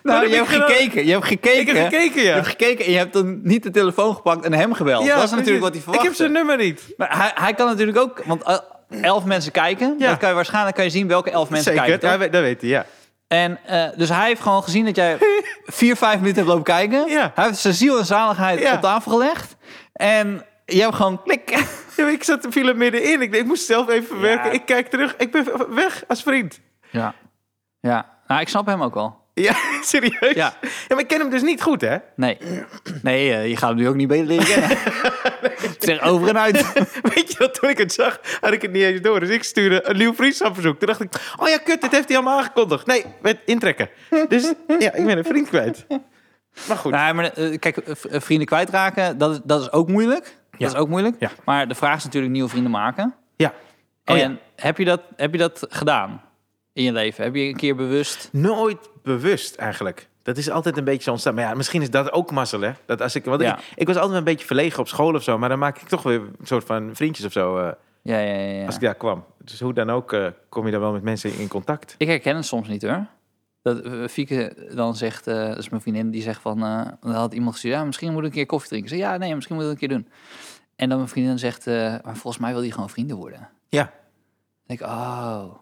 S2: Nou,
S1: heb
S2: je
S1: ik
S2: hebt
S1: gedaan?
S2: gekeken. Je hebt gekeken.
S1: Ik heb gekeken,
S2: Je
S1: ja.
S2: hebt gekeken en je hebt dan niet de telefoon gepakt en hem gebeld.
S1: Ja,
S2: dat is natuurlijk wat hij
S1: precies.
S2: verwachtte.
S1: Ik heb zijn nummer niet.
S2: Maar hij, hij kan natuurlijk ook... Want eh, elf mensen kijken.
S1: Ja.
S2: Dat kan je waarschijnlijk kan je zien welke elf mensen
S1: Zeker,
S2: kijken.
S1: ja,
S2: toch?
S1: we- dat weet hij, ja.
S2: En, eh, dus hij heeft gewoon gezien dat jij vier, vijf minuten hebt lopen kijken.
S1: Ja.
S2: Hij heeft zijn ziel en zaligheid
S1: Ja.
S2: op tafel gelegd. En je hebt gewoon klik.
S1: Ja, maar Ik zat viel er middenin. Ik, ik moest zelf even verwerken.
S2: Ja.
S1: Ik kijk terug. Ik ben weg als vriend.
S2: Ja. Ja. Nou, ik snap hem ook wel.
S1: Ja, serieus.
S2: Ja.
S1: maar ik ken hem dus niet goed, hè?
S2: Nee. Nee, eh, je gaat hem nu ook niet beter leren kennen. Ik Zeg over en uit.
S1: Weet je dat toen ik het zag, had ik het niet eens door. Dus ik stuurde een nieuw vriendschapverzoek. Toen dacht ik, oh ja, kut, dit heeft hij allemaal aangekondigd. Nee, met intrekken. Dus ja, ik ben een vriend kwijt. Maar goed.
S2: Nee, maar eh, kijk, eh, v- eh, vrienden kwijtraken, dat is, dat is ook moeilijk.
S1: Ja.
S2: Dat is ook moeilijk.
S1: Ja.
S2: Maar de vraag is natuurlijk nieuwe vrienden maken.
S1: Ja. Oh,
S2: en heb, je dat, heb je dat gedaan in je leven? Heb je een keer bewust...
S1: Nooit bewust eigenlijk. Dat is altijd een beetje zo ontstaan. Maar ja, misschien is dat ook mazzel, hè? Dat als ik, want
S2: Ja.
S1: ik, ik was altijd een beetje verlegen op school of zo. Maar dan maak ik toch weer een soort van vriendjes of zo eh,
S2: Ja, ja, ja. ja.
S1: als ik daar kwam. Dus hoe dan ook eh, kom je dan wel met mensen in contact.
S2: Ik herken het soms niet hoor. Dat eh, Fieke dan zegt, eh, dat is mijn vriendin, die zegt van, eh, dan had iemand gezegd, ja, misschien moet ik een keer koffie drinken. Ik zeg, ja, nee, misschien moet ik het een keer doen. En dan mijn vriendin zegt, eh, maar volgens mij wil die gewoon vrienden worden. Dan
S1: Ja.
S2: denk ik, oh,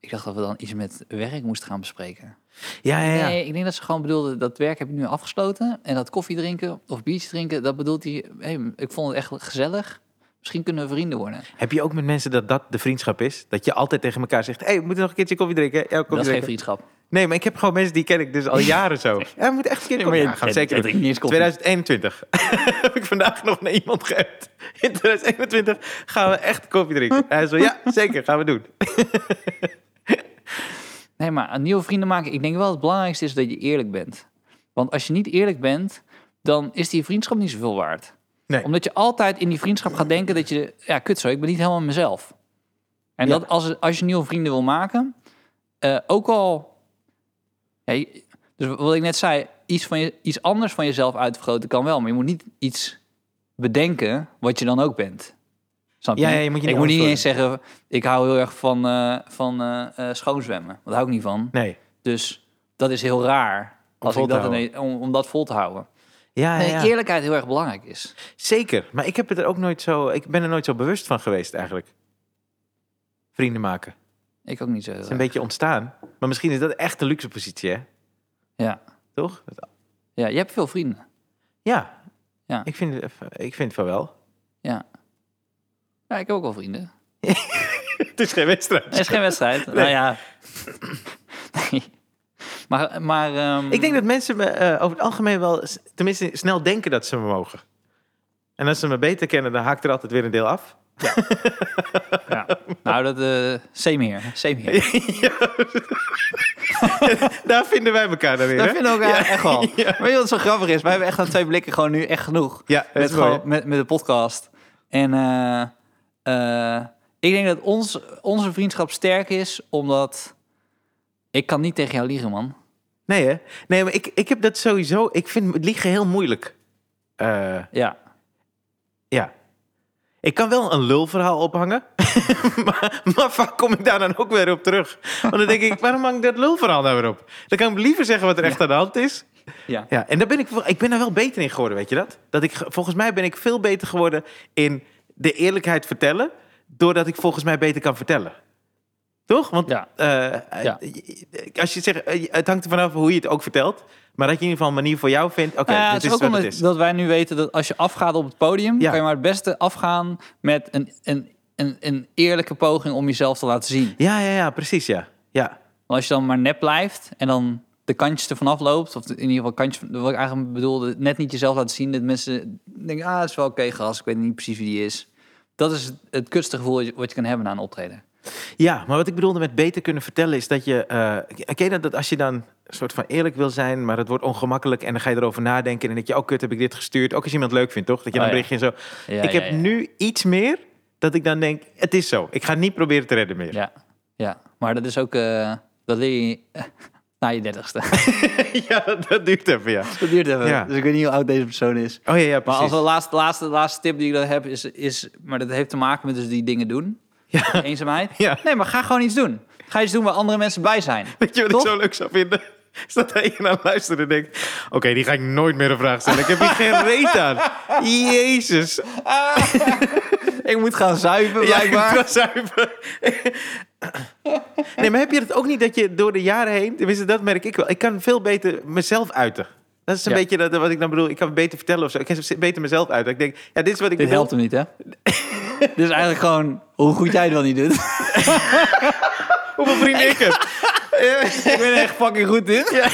S2: ik dacht dat we dan iets met werk moesten gaan bespreken.
S1: Ja, ja, ja.
S2: Nee, ik denk dat ze gewoon bedoelde, dat werk heb ik nu afgesloten. En dat koffie drinken of biertje drinken, dat bedoelt hij, hey, ik vond het echt gezellig. Misschien kunnen we vrienden worden.
S1: Heb je ook met mensen dat dat de vriendschap is? Dat je altijd tegen elkaar zegt, hey, we moeten nog een keertje koffie drinken. Ja, koffie
S2: dat is geen
S1: drinken.
S2: vriendschap.
S1: Nee, maar ik heb gewoon mensen die ken ik dus al jaren zo. Ja, we moeten echt een keer koffie
S2: je-
S1: ja, gaan we
S2: je
S1: zeker. doen.
S2: drinkt niet eens koffie.
S1: 2021. heb ik vandaag nog naar iemand geappt. In 2021 gaan we echt koffie drinken. Hij zo, ja, zeker, gaan we doen.
S2: Nee, maar aan nieuwe vrienden maken, ik denk wel het belangrijkste is dat je eerlijk bent. Want als je niet eerlijk bent, dan is die vriendschap niet zoveel waard.
S1: Nee.
S2: Omdat je altijd in die vriendschap gaat denken dat je, ja, kut zo, ik ben niet helemaal mezelf. En
S1: Ja.
S2: dat als, als je nieuwe vrienden wil maken, eh, ook al, ja, je- dus wat ik net zei, iets, van je, iets anders van jezelf uitvergroten kan wel, maar je moet niet iets bedenken wat je dan ook bent. Snap je?
S1: Ja, ja, je moet je
S2: ik
S1: niet
S2: moet niet
S1: anders
S2: eens zeggen, ik hou heel erg van, eh, van eh, eh, schoonzwemmen. Want daar hou ik niet van.
S1: Nee.
S2: Dus dat is heel raar
S1: Om
S2: als
S1: vol
S2: ik
S1: te
S2: dat
S1: houden.
S2: ineens- om, om dat vol te houden.
S1: Ja,
S2: Nee,
S1: ja, ja.
S2: Eh, Eerlijkheid heel erg belangrijk is.
S1: zeker. Maar ik, heb het er ook nooit zo, ik ben er nooit zo bewust van geweest eigenlijk. Vrienden maken. Het
S2: Ik ook niet zo.
S1: is een beetje ontstaan. Maar misschien is dat echt een luxe positie, hè?
S2: Ja.
S1: Toch?
S2: ja, je hebt veel vrienden.
S1: Ja.
S2: Ja.
S1: Ik, vind, het- ik vind van wel.
S2: Ja. Ja, ik heb ook wel vrienden.
S1: Het is geen wedstrijd.
S2: Het is geen wedstrijd. Nou ja. nee. Maar, maar ehm,
S1: Ik denk dat mensen me eh, over het algemeen wel, s- tenminste snel denken dat ze me mogen. En als ze me beter kennen, dan haakt er altijd weer een deel af.
S2: ja. Nou, dat... eh same here. Same here.
S1: Daar vinden wij elkaar dan weer.
S2: Dat
S1: hè?
S2: vinden we elkaar echt wel. Weet je wat zo grappig is? Wij hebben echt aan twee blikken gewoon nu echt genoeg.
S1: Ja, dat
S2: met,
S1: is mooi,
S2: gewoon, met, met de podcast. En eh, eh, ik denk dat ons, onze vriendschap sterk is, omdat ik kan niet tegen jou liegen, man.
S1: Nee, hè? Nee, maar ik, ik heb dat sowieso. Ik vind het liegen heel moeilijk. Eh,
S2: Ja.
S1: ja. Ik kan wel een lulverhaal ophangen. maar, maar vaak kom ik daar dan ook weer op terug. Want dan denk ik, waarom hang ik dat lulverhaal nou weer op? Dan kan ik liever zeggen wat er echt aan de hand is.
S2: Ja.
S1: Ja, en daar ben ik, wel- ik ben er wel beter in geworden, weet je dat? dat ik, ge- volgens mij ben ik veel beter geworden in de eerlijkheid vertellen. Doordat ik volgens mij beter kan vertellen. Toch? Want
S2: Ja.
S1: eh,
S2: Ja.
S1: als je zegt, eh, het hangt er vanaf hoe je het ook vertelt. Maar dat je in ieder geval een manier voor jou vindt. Oké,
S2: Nou ja,
S1: dit
S2: het is
S1: is,
S2: ook
S1: wat
S2: omdat
S1: het is.
S2: dat wij nu weten dat als je afgaat op het podium,
S1: Ja.
S2: kan je maar het beste afgaan met een, een, een, een eerlijke poging om jezelf te laten zien.
S1: Ja, ja, ja, precies, ja. Ja,
S2: Maar als je dan maar nep blijft en dan de kantjes ervan afloopt, of in ieder geval kantjes, van- wat ik eigenlijk bedoelde, net niet jezelf laten zien, dat mensen denken, ah, dat is wel oké gast, ik weet niet precies wie die is. Dat is het, het kutste gevoel wat je- wat je kan hebben na een optreden.
S1: Ja, maar wat ik bedoelde met beter kunnen vertellen is dat je. eh ken je dat, dat als je dan een soort van eerlijk wil zijn, maar het wordt ongemakkelijk en dan ga je erover nadenken en denk je, oh kut, heb ik dit gestuurd? Ook als je iemand leuk vindt, toch? Dat je dan
S2: Oh, ja.
S1: bericht je zo.
S2: Ja,
S1: ik
S2: ja,
S1: heb
S2: ja.
S1: nu iets meer dat ik dan denk, het is zo. Ik ga niet proberen te redden meer.
S2: Ja, ja. maar dat is ook, eh, dat leer je eh, na je dertigste.
S1: Ja, dat, dat duurt even, ja.
S2: dat duurt even,
S1: Ja.
S2: dus ik weet niet hoe oud deze persoon is.
S1: Oh ja, ja
S2: Maar
S1: precies.
S2: als de laatste, laatste, laatste tip die ik dan heb is, is, maar dat heeft te maken met dus die dingen doen.
S1: Ja.
S2: Eenzaamheid.
S1: Ja.
S2: Nee, maar ga gewoon iets doen. Ga iets doen waar andere mensen bij zijn.
S1: Weet je wat
S2: Toch?
S1: ik zo leuk zou vinden? Is dat hij hier naar luistert en denkt... Oké, die ga ik nooit meer een vraag stellen. Ik heb hier geen reet aan. Jezus.
S2: Ik moet gaan
S1: Ja,
S2: zuipen, blijkbaar.
S1: ik moet wel zuipen. nee, maar heb je het ook niet dat je door de jaren heen... Tenminste, dat merk ik wel. Ik kan veel beter mezelf uiten. Dat is een
S2: Ja.
S1: beetje dat, wat ik dan bedoel. Ik kan beter vertellen of zo. Ik kan beter mezelf uiten. Ik denk, ja, dit is wat ik
S2: Dit
S1: bedoel.
S2: helpt hem niet, hè? Dit is eigenlijk gewoon hoe goed jij het wel niet doet.
S1: Hoeveel vrienden ik heb.
S2: ik ben echt fucking goed in.
S1: ja,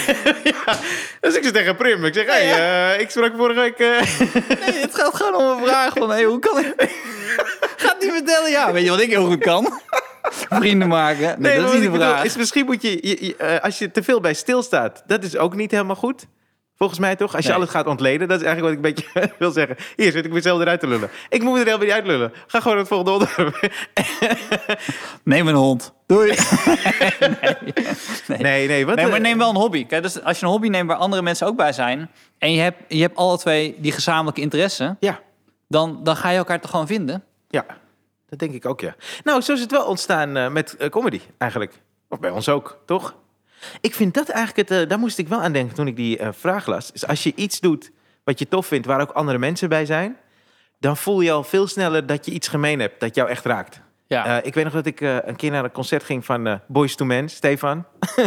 S1: ja. Dus ik zeg tegen Prim. Ik zeg, hey, eh, ik sprak vorige week... eh,
S2: Nee, het gaat gewoon om een vraag van, hey, hoe kan ik... Gaat niet vertellen, ja. Weet je wat ik heel goed kan? Vrienden maken. Nee,
S1: Nee, maar
S2: dat is
S1: wat
S2: niet
S1: ik
S2: de
S1: bedoel
S2: vraag.
S1: is misschien moet je, je- je, eh, als je te veel bij stilstaat, dat is ook niet helemaal goed. Volgens mij toch? Als je
S2: Nee.
S1: alles gaat ontleden, dat is eigenlijk wat ik een beetje wil zeggen. Hier zit ik mezelf eruit te lullen. Ik moet me er helemaal niet uit lullen. Ga gewoon naar het volgende onderwerp.
S2: Neem een hond. Doei.
S1: Nee, nee, wat?
S2: Nee, maar
S1: eh,
S2: neem wel een hobby. Kijk, dus als je een hobby neemt waar andere mensen ook bij zijn... en je hebt, je hebt alle twee die gezamenlijke interesse...
S1: Ja,
S2: dan, dan ga je elkaar toch gewoon vinden?
S1: ja, dat denk ik ook, ja. Nou, zo is het wel ontstaan eh, met eh, comedy eigenlijk. Of bij ons ook, toch? Ik vind dat eigenlijk, het, eh, daar moest ik wel aan denken toen ik die eh, vraag las. Is als je iets doet wat je tof vindt, waar ook andere mensen bij zijn, dan voel je al veel sneller dat je iets gemeen hebt, dat jou echt raakt.
S2: Ja.
S1: Eh, ik weet nog dat ik eh, een keer naar een concert ging van eh, Boys to Men, Stefan.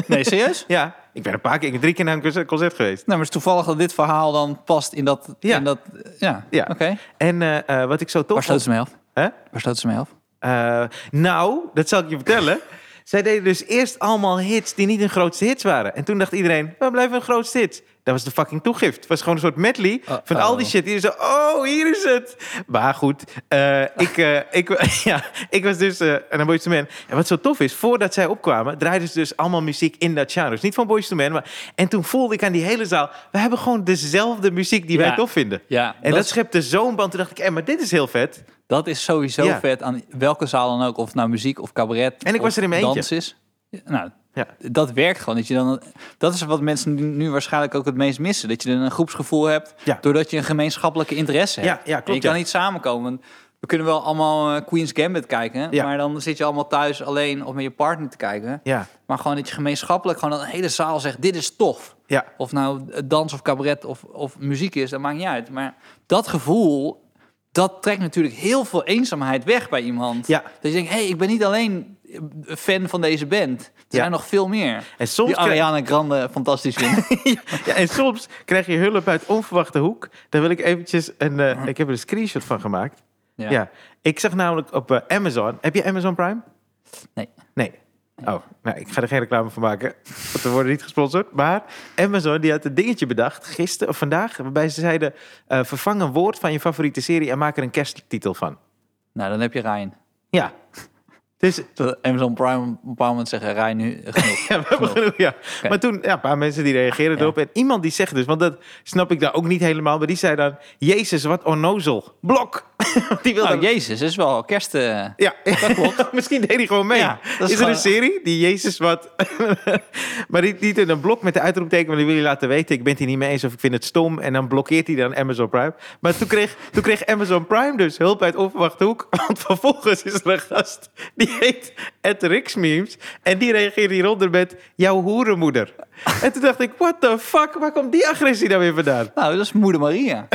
S2: nee, serieus?
S1: Ja, ik ben een paar keer, ik ben drie keer naar een concert- concert geweest.
S2: Nou, maar het is toevallig dat dit verhaal dan past in dat...
S1: Ja.
S2: in dat ja,
S1: Ja.
S2: oké.
S1: En eh, eh, wat ik zo tof
S2: Waar sloten ze mee af?
S1: Hè?
S2: Waar sloten ze mee af?
S1: Eh, nou, dat zal ik je vertellen. Zij deden dus eerst allemaal hits die niet hun grootste hits waren. En toen dacht iedereen, we blijven hun grootste hits. Dat was de fucking toegift. Het was gewoon een soort medley van
S2: Uh-oh.
S1: al die shit. Die zo, oh, hier is het. Maar goed, eh, ik, eh, ik, ja, ik was dus eh, een Boys to Men. En wat zo tof is, voordat zij opkwamen... draaiden ze dus allemaal muziek in dat genre. Dus niet van Boys to Men, maar... En toen voelde ik aan die hele zaal... we hebben gewoon dezelfde muziek die wij
S2: Ja.
S1: tof vinden.
S2: Ja,
S1: en dat,
S2: dat is-
S1: schepte zo'n band. Toen dacht ik, eh, maar dit is heel vet.
S2: Dat is sowieso
S1: Ja.
S2: vet aan welke zaal dan ook. Of het nou muziek of cabaret
S1: En ik
S2: of
S1: was er in mijn eentje.
S2: dans is. Ja, Nou,
S1: Ja.
S2: dat werkt gewoon. Dat, je dan, dat is wat mensen nu- nu waarschijnlijk ook het meest missen. Dat je dan een groepsgevoel hebt,
S1: Ja.
S2: doordat je een gemeenschappelijke interesse
S1: Ja,
S2: hebt.
S1: ja, klopt,
S2: En je kan
S1: ja.
S2: niet samenkomen. We kunnen wel allemaal eh, Queen's Gambit kijken,
S1: Ja.
S2: maar dan zit je allemaal thuis alleen of met je partner te kijken.
S1: Ja,
S2: Maar gewoon dat je gemeenschappelijk gewoon een hele zaal zegt, dit is tof.
S1: ja.
S2: Of nou eh, dans of cabaret of, of muziek is, dat maakt niet uit. Maar dat gevoel, dat trekt natuurlijk heel veel eenzaamheid weg bij iemand.
S1: Ja.
S2: Dat je denkt, hé, hey, ik ben niet alleen eh, fan van deze band. Er zijn nog veel meer.
S1: En soms
S2: Die
S1: krijg-
S2: Ariana Grande fantastisch vindt.
S1: Ja, en soms krijg je hulp uit onverwachte hoek. Daar wil ik eventjes een... eh, ik heb er een screenshot van gemaakt. Ja. Ik zag namelijk op eh, Amazon... Heb je Amazon Prime?
S2: Nee.
S1: Nee. Oh, nou, ik ga er geen reclame van maken. Want we worden niet gesponsord. Maar Amazon die had een dingetje bedacht, gisteren of vandaag... waarbij ze zeiden, eh, vervang een woord van je favoriete serie... en maak er een kersttitel van.
S2: Nou, dan heb je Ryan.
S1: Ja. Dus
S2: Terwijl Amazon Prime op een bepaald moment zeggen, Ryan nu eh, genoeg.
S1: Ja, we hebben genoeg, ja. Maar toen, ja, een paar mensen die reageren erop. En iemand die zegt dus, want dat snap ik daar ook niet helemaal. Maar die zei dan, Jezus, wat onnozel. Blok! Die wilde
S2: Nou, Jezus, is wel kerst... eh,
S1: Ja, Misschien deed hij gewoon mee.
S2: Ja, dat is
S1: is, er
S2: gewoon-
S1: een serie die Jezus wat. maar die, die doet een blok met de uitroepteken, maar die wil je laten weten: ik ben het hier niet mee eens of ik vind het stom. En dan blokkeert hij dan Amazon Prime. Maar toen kreeg, toen kreeg Amazon Prime dus hulp uit onverwachte hoek. Want vervolgens is er een gast die heet Ed Rixmemes. En die reageerde hieronder met: jouw hoerenmoeder. en toen dacht ik: what the fuck, waar komt die agressie nou weer vandaan?
S2: Nou, dat is moeder Maria.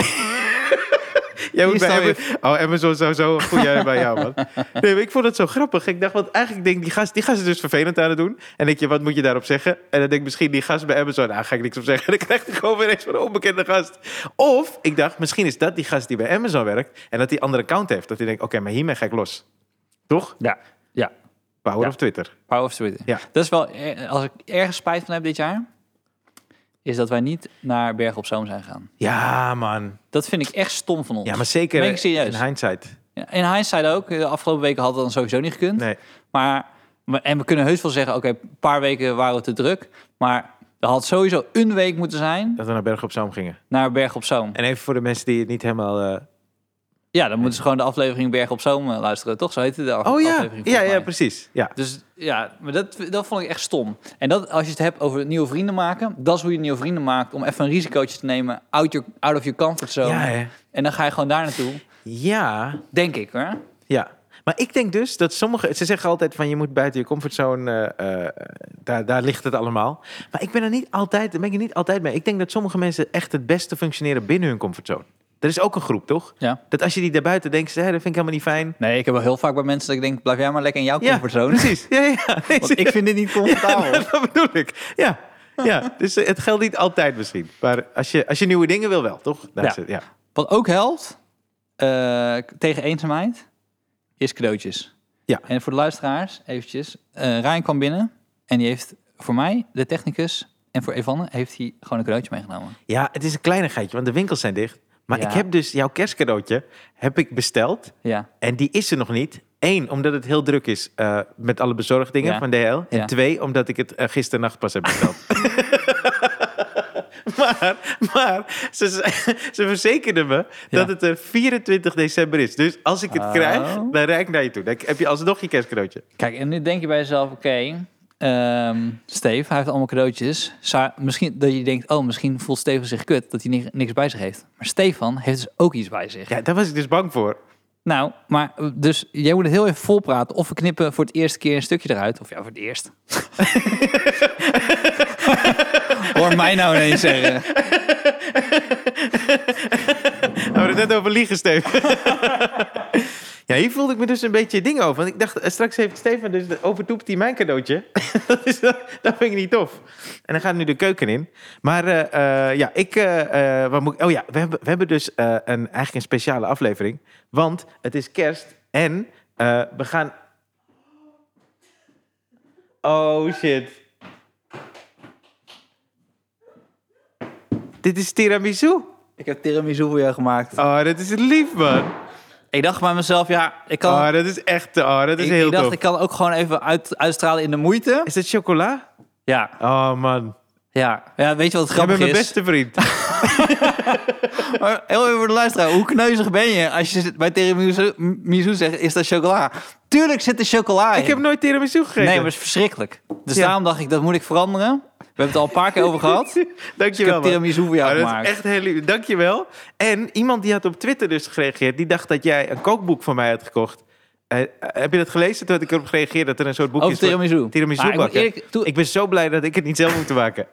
S1: Jij moet
S2: Hier
S1: bij
S2: sta
S1: Amazon, oh, Amazon zou zo een goede bij jou, man. Nee, maar ik vond het zo grappig. Ik dacht, want eigenlijk denk ik, die gast, die gast is dus vervelend aan het doen. En denk je, wat moet je daarop zeggen? En dan denk ik, misschien die gast bij Amazon, Nou, daar ga ik niks op zeggen. En dan krijg ik gewoon weer eens van een onbekende gast. Of, ik dacht, misschien is dat die gast die bij Amazon werkt. En dat die andere account heeft. Dat hij denkt, oké, maar hiermee ga ik los. Toch?
S2: Ja, ja.
S1: Power
S2: Ja.
S1: of Twitter.
S2: Power of Twitter.
S1: Ja.
S2: Dat is wel, eh, als ik ergens spijt van heb dit jaar, is dat wij niet naar Bergen op Zoom zijn gegaan.
S1: Ja, man.
S2: Dat vind ik echt stom van ons.
S1: Ja, maar zeker
S2: Ben ik serieus?
S1: in hindsight.
S2: Ja, In hindsight ook. eh, De afgelopen weken had dat dan sowieso niet gekund.
S1: Nee.
S2: Maar, maar- en we kunnen heus wel zeggen, oké, een paar weken waren we te druk. Maar er had sowieso een week moeten zijn
S1: Dat we naar Berg op Zoom gingen.
S2: naar Berg op Zoom.
S1: En even voor de mensen die het niet helemaal... eh,
S2: Ja, dan moeten ze gewoon de aflevering Berg op Zoom eh, luisteren. Toch? Zo heette de af-
S1: Oh ja,
S2: aflevering.
S1: ja,
S2: volgens
S1: ja,
S2: mij.
S1: precies. Ja.
S2: Dus ja, maar dat, dat vond ik echt stom. En dat, als je het hebt over nieuwe vrienden maken, dat is hoe je nieuwe vrienden maakt. Om even een risicootje te nemen, out, your, out of your comfort zone.
S1: Ja, hè.
S2: En dan ga je gewoon daar naartoe,
S1: ja.
S2: denk ik hoor.
S1: Ja. Maar ik denk dus dat sommige... Ze zeggen altijd van je moet buiten je comfortzone... eh, eh, daar, daar ligt het allemaal. Maar ik ben er niet altijd, daar ben ik er niet altijd mee. Ik denk dat sommige mensen echt het beste functioneren binnen hun comfortzone. Er is ook een groep, toch?
S2: Ja.
S1: Dat als je die daarbuiten denkt, hè, dat vind ik helemaal niet fijn.
S2: Nee, ik heb wel heel vaak bij mensen dat ik denk, blijf jij maar lekker in jouw
S1: Ja,
S2: comfortzone.
S1: precies. Ja, ja, ja. Nee,
S2: Want ik vind dit niet comfortabel.
S1: dat bedoel ik. Ja, ja. dus eh, het geldt niet altijd misschien. Maar als je, als je nieuwe dingen wil wel, toch? Daar
S2: Ja.
S1: is het, ja.
S2: Wat ook helpt eh, tegen eenzaamheid, is cadeautjes.
S1: Ja.
S2: En voor de luisteraars, eventjes. eh Rijn kwam binnen en die heeft voor mij, de technicus, en voor Evanne heeft hij gewoon een cadeautje meegenomen.
S1: ja, het is een kleinigheidje, want de winkels zijn dicht. Maar
S2: Ja.
S1: ik heb dus jouw kerstcadeautje heb ik besteld.
S2: Ja.
S1: En die is er nog niet. Eén, omdat het heel druk is eh, met alle bezorgdingen
S2: Ja.
S1: van DHL. En
S2: Ja.
S1: twee, omdat ik het eh, gisternacht pas heb besteld. maar maar ze, ze verzekerden me dat
S2: Ja.
S1: het er 24 december is. Dus als ik het
S2: Oh.
S1: krijg, dan rijd ik naar je toe. Dan heb je alsnog je kerstcadeautje.
S2: Kijk, en nu denk je bij jezelf, oké, ehm, Steve, hij heeft allemaal cadeautjes. Sa- misschien dat je denkt, oh, misschien voelt Steven zich kut dat hij ni- niks bij zich heeft. Maar Stefan heeft dus ook iets bij zich.
S1: Ja, daar was ik dus bang voor.
S2: Nou, maar eh, dus jij moet het heel even volpraten. Of we knippen voor het eerste keer een stukje eruit. Of ja, voor het eerst. Hoor mij nou ineens zeggen.
S1: We hadden het net over liegen, Steven. ja, hier voelde ik me dus een beetje ding over. Want ik dacht, eh, straks heeft Steven dus overtoept hij mijn cadeautje. dat, is, dat, dat vind ik niet tof. En dan gaat nu de keuken in. Maar eh, eh, ja, ik, eh, eh, wat moet ik- Oh ja, we hebben, we hebben dus eh, een, eigenlijk een speciale aflevering. Want het is kerst en eh, we gaan... Oh shit. Dit is tiramisu.
S2: Ik heb tiramisu voor jou gemaakt.
S1: Oh, dat is lief, man.
S2: Ik dacht bij mezelf, ja, ik kan...
S1: Oh, dat is echt... Oh, dat is
S2: ik,
S1: heel
S2: ik dacht,
S1: tof.
S2: ik kan ook gewoon even uit, uitstralen in de moeite.
S1: Is dat chocola?
S2: Ja,
S1: Oh, man.
S2: ja. Ja, weet je wat
S1: Jij
S2: grappig
S1: bent mijn
S2: is?
S1: beste vriend.
S2: Maar Oh, heel even voor de luisteraar, hoe kneuzig ben je als je bij tiramisu misu zegt, is dat chocola? Tuurlijk zit er chocola in.
S1: ik heb nooit tiramisu gegeten.
S2: Nee, maar het is verschrikkelijk. Dus
S1: Ja.
S2: daarom dacht ik, dat moet ik veranderen. We hebben het al een paar keer over gehad. Dus ik
S1: Dankjewel,
S2: heb
S1: man.
S2: tiramisu voor jou
S1: Oh, dat
S2: gemaakt.
S1: is echt heel lief. Dankjewel. En iemand die had op Twitter dus gereageerd... die dacht dat jij een kookboek van mij had gekocht. Eh, eh, heb je dat gelezen? Toen had ik erop gereageerd dat er een soort boek
S2: Over
S1: is... voor-
S2: tiramisu.
S1: Tiramisu
S2: Ah, ik moet
S1: bakken.
S2: eerlijk toe-
S1: Ik ben zo blij dat ik het niet zelf moet maken.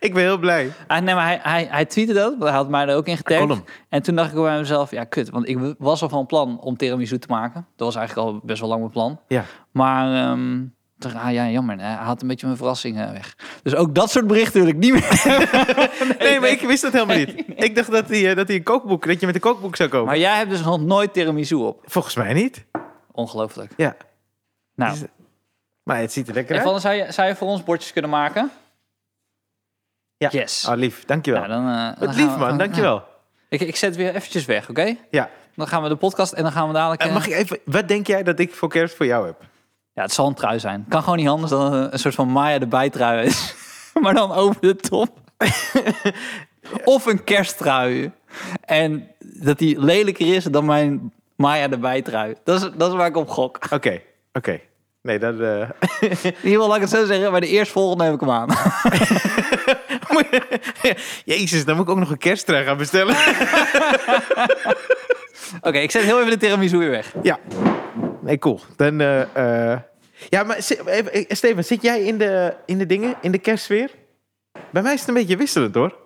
S1: ik ben heel blij.
S2: Ah, nee, maar hij, hij, hij tweette dat, want hij had mij er ook in getagd.
S1: Column.
S2: En toen dacht ik bij mezelf, ja kut, want ik was al van plan om tiramisu te maken. Dat was eigenlijk al best wel lang mijn plan.
S1: Ja.
S2: Maar ehm, toen dacht ik, ah ja, jammer, hij haalt een beetje mijn verrassing eh, weg. Dus ook dat soort berichten wil ik niet meer.
S1: Nee, maar ik wist dat helemaal niet. Ik dacht dat hij, eh, dat hij een kookboek... dat je met een kookboek zou komen.
S2: Maar jij hebt dus nog nooit tiramisu op.
S1: Volgens mij niet.
S2: Ongelooflijk.
S1: Ja.
S2: Nou,
S1: Is- Maar het ziet er lekker uit.
S2: Evan, zou je, zou je voor ons bordjes kunnen maken?
S1: Ja.
S2: Yes.
S1: Ah, lief, dankjewel.
S2: Nou, dan, eh, dan
S1: Wat
S2: gaan
S1: lief,
S2: we-
S1: man,
S2: dan-
S1: dankjewel.
S2: Ik, ik zet weer eventjes weg, oké?
S1: Ja.
S2: Dan gaan we de podcast en dan gaan we dadelijk...
S1: Eh,
S2: eh,
S1: mag ik even, wat denk jij dat ik voor kerst voor jou heb?
S2: Ja, het zal een trui zijn. Kan gewoon niet anders dan een, een soort van Maya de bijtrui is. maar dan over de top. of een kersttrui. En dat die lelijker is dan mijn Maya de bijtrui. Dat is, dat is waar ik op gok.
S1: Oké, oké. Nee, dat... eh,
S2: In ieder geval laat ik het zo zeggen, maar de eerstvolgende heb ik hem aan.
S1: Jezus, dan moet ik ook nog een kersttrui gaan bestellen.
S2: Oké, ik zet heel even de tiramisu weer weg.
S1: ja. Nee, cool. Dan... eh, eh, Ja, maar zi- even- eh, Steven, zit jij in de, in de dingen, in de kerstsfeer? Bij mij is het een beetje wisselend, hoor.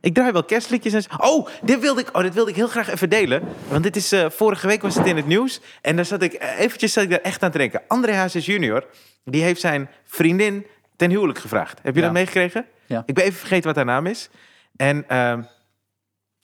S1: Ik draai wel kerstliedjes en zo. Oh, dit wilde ik, oh, dit wilde ik heel graag even delen. Want dit is, eh, vorige week was het in het nieuws. En daar zat ik, eh, eventjes zat ik daar echt aan te denken. André Hazes junior, die heeft zijn vriendin ten huwelijk gevraagd. Heb je
S2: Ja.
S1: dat meegekregen?
S2: Ja.
S1: Ik ben even vergeten wat haar naam is. En ehm,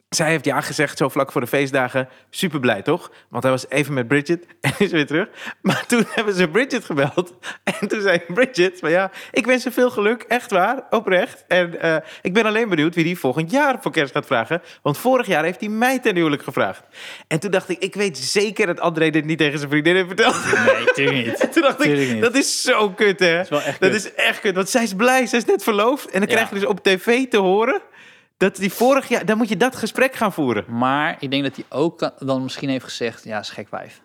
S1: zij heeft ja gezegd, zo vlak voor de feestdagen. Super blij, toch? Want hij was even met Bridget en is weer terug. Maar toen hebben ze Bridget gebeld. En toen zei Bridget, van ja, ik wens ze veel geluk. Echt waar, oprecht. En eh, ik ben alleen benieuwd wie die volgend jaar voor kerst gaat vragen. Want vorig jaar heeft hij mij ten huwelijk gevraagd. En toen dacht ik, ik weet zeker dat André dit niet tegen zijn vriendin heeft verteld.
S2: Nee, tuurlijk niet.
S1: En toen dacht
S2: Tuurlijk niet.
S1: ik, dat is zo kut, hè? Dat is
S2: wel echt
S1: Dat
S2: kut.
S1: is echt kut, want zij is blij, zij is net verloofd. En dan
S2: Ja.
S1: krijg je dus op tv te horen dat die vorig jaar... Dan moet je dat gesprek gaan voeren.
S2: Maar ik denk dat hij ook kan- dan misschien heeft gezegd, ja, is een gek wijf.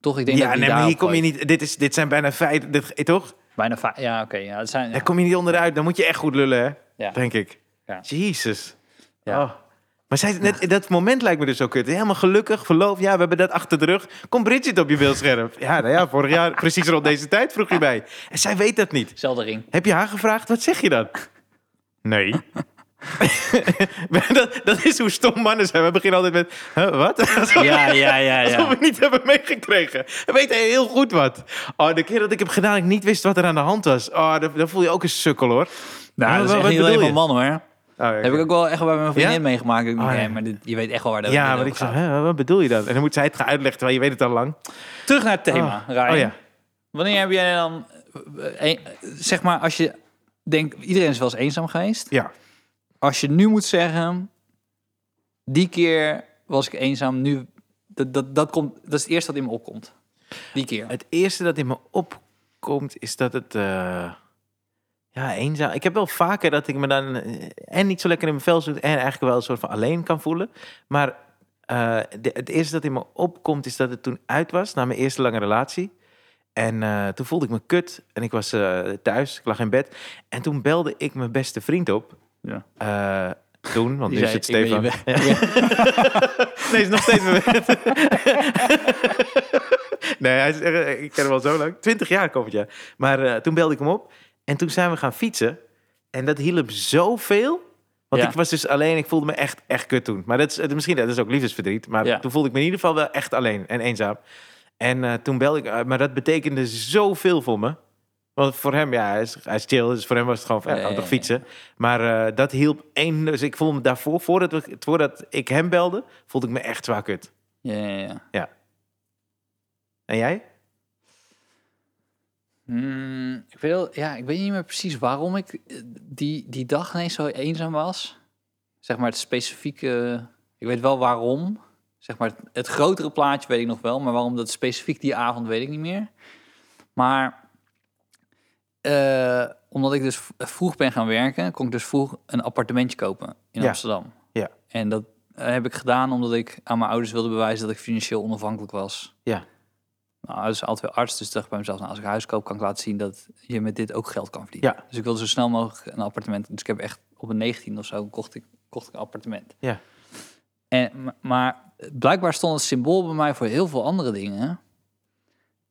S2: Toch, ik denk dat
S1: Ja,
S2: hij
S1: nee, maar
S2: daarop
S1: hier kom je
S2: gooit.
S1: niet... Dit, is, dit zijn bijna feiten, dit, eh, toch?
S2: Bijna va- Ja, oké. ja, het zijn,
S1: Daar kom je niet onderuit. Dan moet je echt goed lullen, hè?
S2: Ja.
S1: Denk ik.
S2: Ja.
S1: Jezus.
S2: Ja.
S1: Oh. Maar zij, is net, dat moment lijkt me dus zo kut. Helemaal gelukkig, verloofd. Ja, we hebben dat achter de rug. Kom Bridget op je beeldscherm. Ja, nou ja, vorig jaar, precies rond deze tijd vroeg je mij. En zij weet dat niet.
S2: Zelfde ring.
S1: Heb je haar gevraagd? Wat zeg je dan? Nee. dat, dat is hoe stom mannen zijn. We beginnen altijd met, huh, wat? Alsof-
S2: Ja, ja, ja,
S1: Alsof we
S2: ja.
S1: niet hebben meegekregen. We weten heel goed wat. Oh, de keer dat ik heb gedaan, ik niet wist wat er aan de hand was. Oh, dan, dan voel je ook een sukkel, hoor.
S2: Nou, dat
S1: wat
S2: is echt niet
S1: bedoel
S2: alleen
S1: je?
S2: van mannen, hoor.
S1: Oh, ja,
S2: Heb
S1: oké.
S2: ik ook wel echt bij mijn vriendin
S1: Ja?
S2: meegemaakt. Ik denk,
S1: Oh, ja.
S2: nee, maar dit, je weet echt wel waar dat
S1: Ja,
S2: dit
S1: maar
S2: over
S1: ik zeg,
S2: gaat.
S1: hè, wat bedoel je dan? En dan moet zij het gaan uitleggen, terwijl je weet het al lang.
S2: Terug naar het thema, Ryan.
S1: Oh ja.
S2: Wanneer heb jij dan... eh, eh, Zeg maar, als je denkt... Iedereen is wel eens eenzaam geweest.
S1: Ja.
S2: Als je nu moet zeggen... Die keer was ik eenzaam. Nu, dat, dat, dat, komt, dat is het eerste dat in me opkomt. Die keer.
S1: Het eerste dat in me opkomt is dat het. eh, ja, eenzaam. Ik heb wel vaker dat ik me dan. eh, en niet zo lekker in mijn vel zit. en eigenlijk wel een soort van alleen kan voelen. Maar eh, de- het eerste dat in me opkomt is dat het toen uit was. na mijn eerste lange relatie. En eh, toen voelde ik me kut. En ik was eh, thuis. Ik lag in bed. En toen belde ik mijn beste vriend op.
S2: Ja.
S1: Eh, toen, want
S2: Die
S1: nu is
S2: zei,
S1: het
S2: "Ik ben je
S1: Stefan.
S2: weg."
S1: Nee, is nog steeds mijn bed. nee, hij is echt- ik ken hem al zo lang. Twintig jaar komend jaar. Maar eh, toen belde ik hem op. En toen zijn we gaan fietsen. En dat hielp zoveel. Want
S2: Ja.
S1: ik was dus alleen. Ik voelde me echt, echt kut toen. Maar dat is, het- misschien dat is ook liefdesverdriet. Maar
S2: Ja.
S1: toen voelde ik me in ieder geval wel echt alleen en eenzaam. En eh, toen belde ik. eh, maar dat betekende zoveel voor me. Want voor hem, ja, hij is, hij is chill. Dus voor hem was het gewoon van, ja,
S2: Ja,
S1: kan
S2: ja,
S1: toch
S2: ja.
S1: fietsen. Maar eh, dat hielp één. Dus ik voelde me daarvoor, voordat, we, voordat ik hem belde, voelde ik me echt zwaar kut.
S2: Ja, ja, ja.
S1: En jij?
S2: Hmm, ik, weet wel- ja, ik weet niet meer precies waarom ik eh, die, die dag ineens zo eenzaam was. Zeg maar het specifieke... Ik weet wel waarom. Zeg maar het, het grotere plaatje weet ik nog wel. Maar waarom dat specifiek die avond weet ik niet meer. Maar eh, omdat ik dus v- vroeg ben gaan werken... kon ik dus vroeg een appartementje kopen in
S1: Ja.
S2: Amsterdam.
S1: Ja.
S2: En dat eh, heb ik gedaan omdat ik aan mijn ouders wilde bewijzen... dat ik financieel onafhankelijk was.
S1: Ja.
S2: Nou, dat is altijd wel arts, dus dacht ik bij mezelf, nou, als ik een huis koop, kan ik laten zien dat je met dit ook geld kan verdienen.
S1: Ja.
S2: Dus ik wilde zo snel mogelijk een appartement. Dus ik heb echt op een 19 of zo kocht ik, kocht ik een appartement.
S1: Ja.
S2: En, m- maar blijkbaar stond het symbool bij mij voor heel veel andere dingen.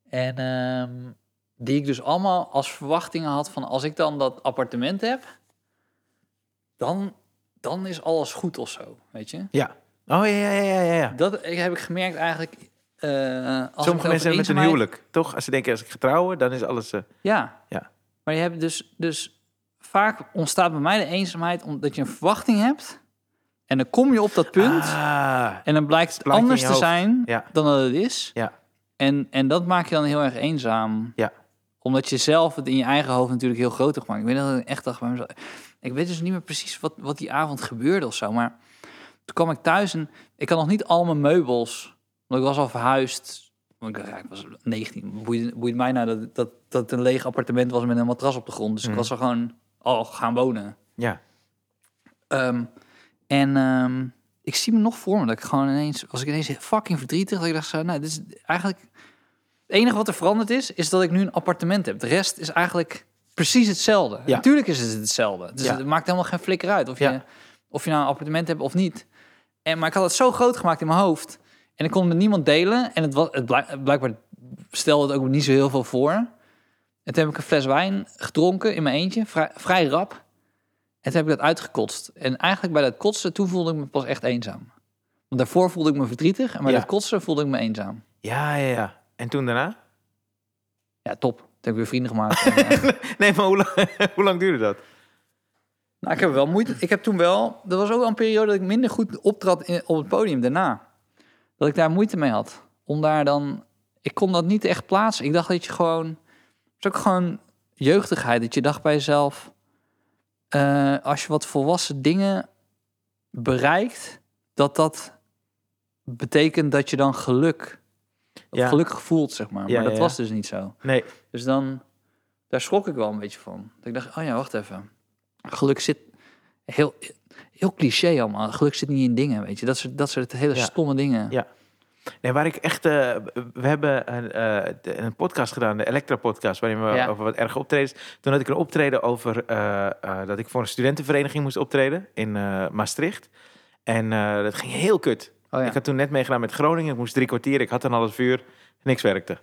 S2: En ehm, die ik dus allemaal als verwachtingen had van als ik dan dat appartement heb, dan, dan is alles goed of zo, weet je?
S1: Ja. Oh ja, ja, ja, ja. ja.
S2: Dat heb ik gemerkt eigenlijk. eh, als ik het
S1: Sommige
S2: over
S1: mensen hebben met een
S2: eenzaamheid-
S1: huwelijk, toch? Als ze denken, als ik ga trouwen, dan is alles... eh,
S2: Ja.
S1: Ja.
S2: Maar je hebt dus, dus vaak ontstaat bij mij de eenzaamheid omdat je een verwachting hebt. En dan kom je op dat punt
S1: ah,
S2: en dan blijkt het
S1: plaatje in
S2: anders
S1: je
S2: te
S1: hoofd.
S2: zijn
S1: Ja.
S2: dan dat het is.
S1: Ja.
S2: En, en dat maakt je dan heel erg eenzaam.
S1: Ja.
S2: Omdat je zelf het in je eigen hoofd natuurlijk heel groot hebt gemaakt. Ik weet dat ik echt dacht bij mezelf. Ik weet dus niet meer precies wat, wat die avond gebeurde of zo. Maar toen kwam ik thuis en ik had nog niet al mijn meubels. Want ik was al verhuisd. Want ik, dacht, ja, ik was 19. Boeide, boeit mij nou dat, dat, dat het een leeg appartement was met een matras op de grond. Dus ik was er gewoon al gaan wonen.
S1: ja.
S2: Ehm, en ehm, ik zie me nog voor me dat ik gewoon ineens, was ik ineens fucking verdrietig, dat ik dacht zo, nou, dit is eigenlijk, het enige wat er veranderd is, is dat ik nu een appartement heb. De rest is eigenlijk precies hetzelfde.
S1: Ja.
S2: Natuurlijk is het hetzelfde. Dus
S1: Ja.
S2: het maakt helemaal geen flikker uit of je,
S1: Ja.
S2: of je nou een appartement hebt of niet. En, maar ik had het zo groot gemaakt in mijn hoofd. En ik kon het met niemand delen. En het, was, het blijk- blijkbaar stelde het ook niet zo heel veel voor. En toen heb ik een fles wijn gedronken in mijn eentje, vrij, vrij rap. En toen heb ik dat uitgekotst. En eigenlijk bij dat kotsen, toen voelde ik me pas echt eenzaam. Want daarvoor voelde ik me verdrietig. En bij
S1: Ja.
S2: dat kotsen voelde ik me eenzaam.
S1: Ja, ja, ja. En toen daarna?
S2: Ja, top. Toen heb ik weer vrienden gemaakt. En, eh,
S1: Nee, maar hoe lang, hoe lang duurde dat?
S2: Nou, ik heb wel moeite. Ik heb toen wel. Er was ook wel een periode dat ik minder goed optrad in- op het podium daarna. Dat ik daar moeite mee had. Om daar dan. Ik kon dat niet echt plaatsen. Ik dacht dat je gewoon. Het is ook gewoon jeugdigheid. Dat je dacht bij jezelf. eh, als je wat volwassen dingen bereikt. Dat dat betekent dat je dan geluk. of
S1: Ja.
S2: Gelukkig voelt, zeg maar. Maar
S1: Ja,
S2: dat
S1: ja, ja.
S2: was dus niet zo.
S1: Nee.
S2: Dus dan, daar schrok ik wel een beetje van. Dat ik dacht, oh ja, wacht even. Geluk zit heel, heel cliché allemaal. Geluk zit niet in dingen, weet je. Dat soort, dat soort hele
S1: Ja.
S2: stomme dingen.
S1: Ja. Nee, waar ik echt... eh, we hebben een, eh, de- een podcast gedaan, de Elektra-podcast... waarin we
S2: Ja.
S1: over wat erge optredens... Toen had ik een optreden over eh, eh, dat ik voor een studentenvereniging moest optreden... in eh, Maastricht. En eh, dat ging heel kut.
S2: Oh ja.
S1: Ik had toen net meegedaan met Groningen. Ik moest drie kwartier, ik had een half uur. Niks werkte.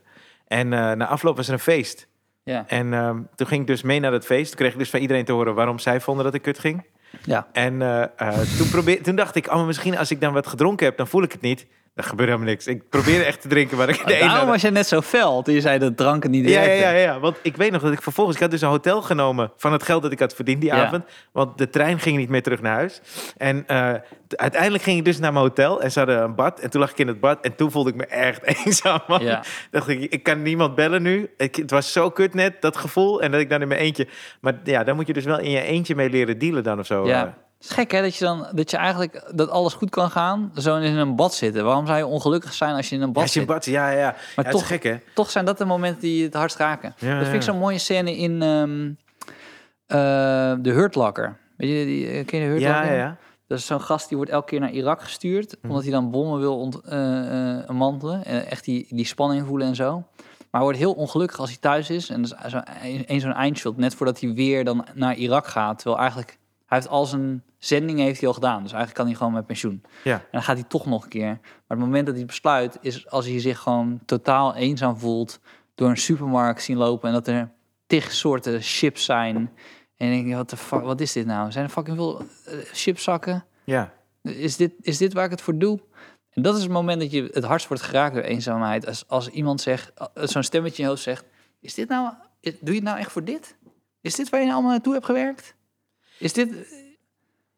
S1: En eh, na afloop was er een feest.
S2: ja.
S1: En ehm, toen ging ik dus mee naar dat feest. Toen kreeg ik dus van iedereen te horen waarom zij vonden dat ik kut ging.
S2: Ja.
S1: En eh, eh, toen, probeer, toen dacht ik, oh, maar misschien als ik dan wat gedronken heb, dan voel ik het niet. Dan gebeurt helemaal niks. Ik probeerde echt te drinken, maar ik de ene...
S2: Oh, Daarom was je net zo fel toen je zei dat dranken niet
S1: Ja,
S2: werkte.
S1: ja, ja, ja, want ik weet nog dat ik vervolgens... Ik had dus een hotel genomen van het geld dat ik had verdiend die
S2: Ja.
S1: avond. Want de trein ging niet meer terug naar huis. En eh, t- uiteindelijk ging ik dus naar mijn hotel en ze hadden een bad. En toen lag ik in het bad en toen voelde ik me echt eenzaam, man.
S2: Ja.
S1: Dacht ik, ik kan niemand bellen nu. Ik, het was zo kut net, dat gevoel. En dat ik dan in mijn eentje... Maar ja, dan moet je dus wel in je eentje mee leren dealen dan of zo.
S2: Ja.
S1: eh.
S2: Het is gek hè, dat je dan dat je eigenlijk dat alles goed kan gaan, zo in een bad zitten. Waarom zou je ongelukkig zijn als je in een bad
S1: Als je
S2: zit?
S1: een bad, ja, ja, ja.
S2: Maar
S1: ja, het
S2: toch-
S1: is gek, hè?
S2: Toch zijn dat de momenten die het hardst raken.
S1: Ja,
S2: dat vind ik
S1: ja.
S2: zo'n mooie scène in ehm eh de Hurtlakker. Weet je, die, eh, ken je de
S1: Ja,
S2: Hurtlakker?
S1: ja, ja.
S2: Dat is zo'n gast die wordt elke keer naar Irak gestuurd. Omdat hij dan bommen wil ont, eh, eh, mantelen. En echt die, die spanning voelen en zo. Maar hij wordt heel ongelukkig als hij thuis is. En dat is zo, een zo'n eindshot. Net voordat hij weer dan naar Irak gaat. Terwijl eigenlijk... Hij heeft al zijn zending heeft hij al gedaan. Dus eigenlijk kan hij gewoon met pensioen.
S1: Ja.
S2: En dan gaat hij toch nog een keer. Maar het moment dat hij besluit... is als hij zich gewoon totaal eenzaam voelt... door een supermarkt zien lopen... en dat er tig soorten chips zijn. En dan denk je, wat de fuck, wat is dit nou? Zijn er fucking veel eh, chipszakken?
S1: Ja,
S2: Is dit, is dit waar ik het voor doe? En dat is het moment dat je het hardst wordt geraakt door eenzaamheid. Als, als iemand zegt, eh, zo'n stemmetje in je hoofd zegt... Is dit nou, is- doe je het nou echt voor dit? Is dit waar je nou allemaal naartoe hebt gewerkt? Is dit...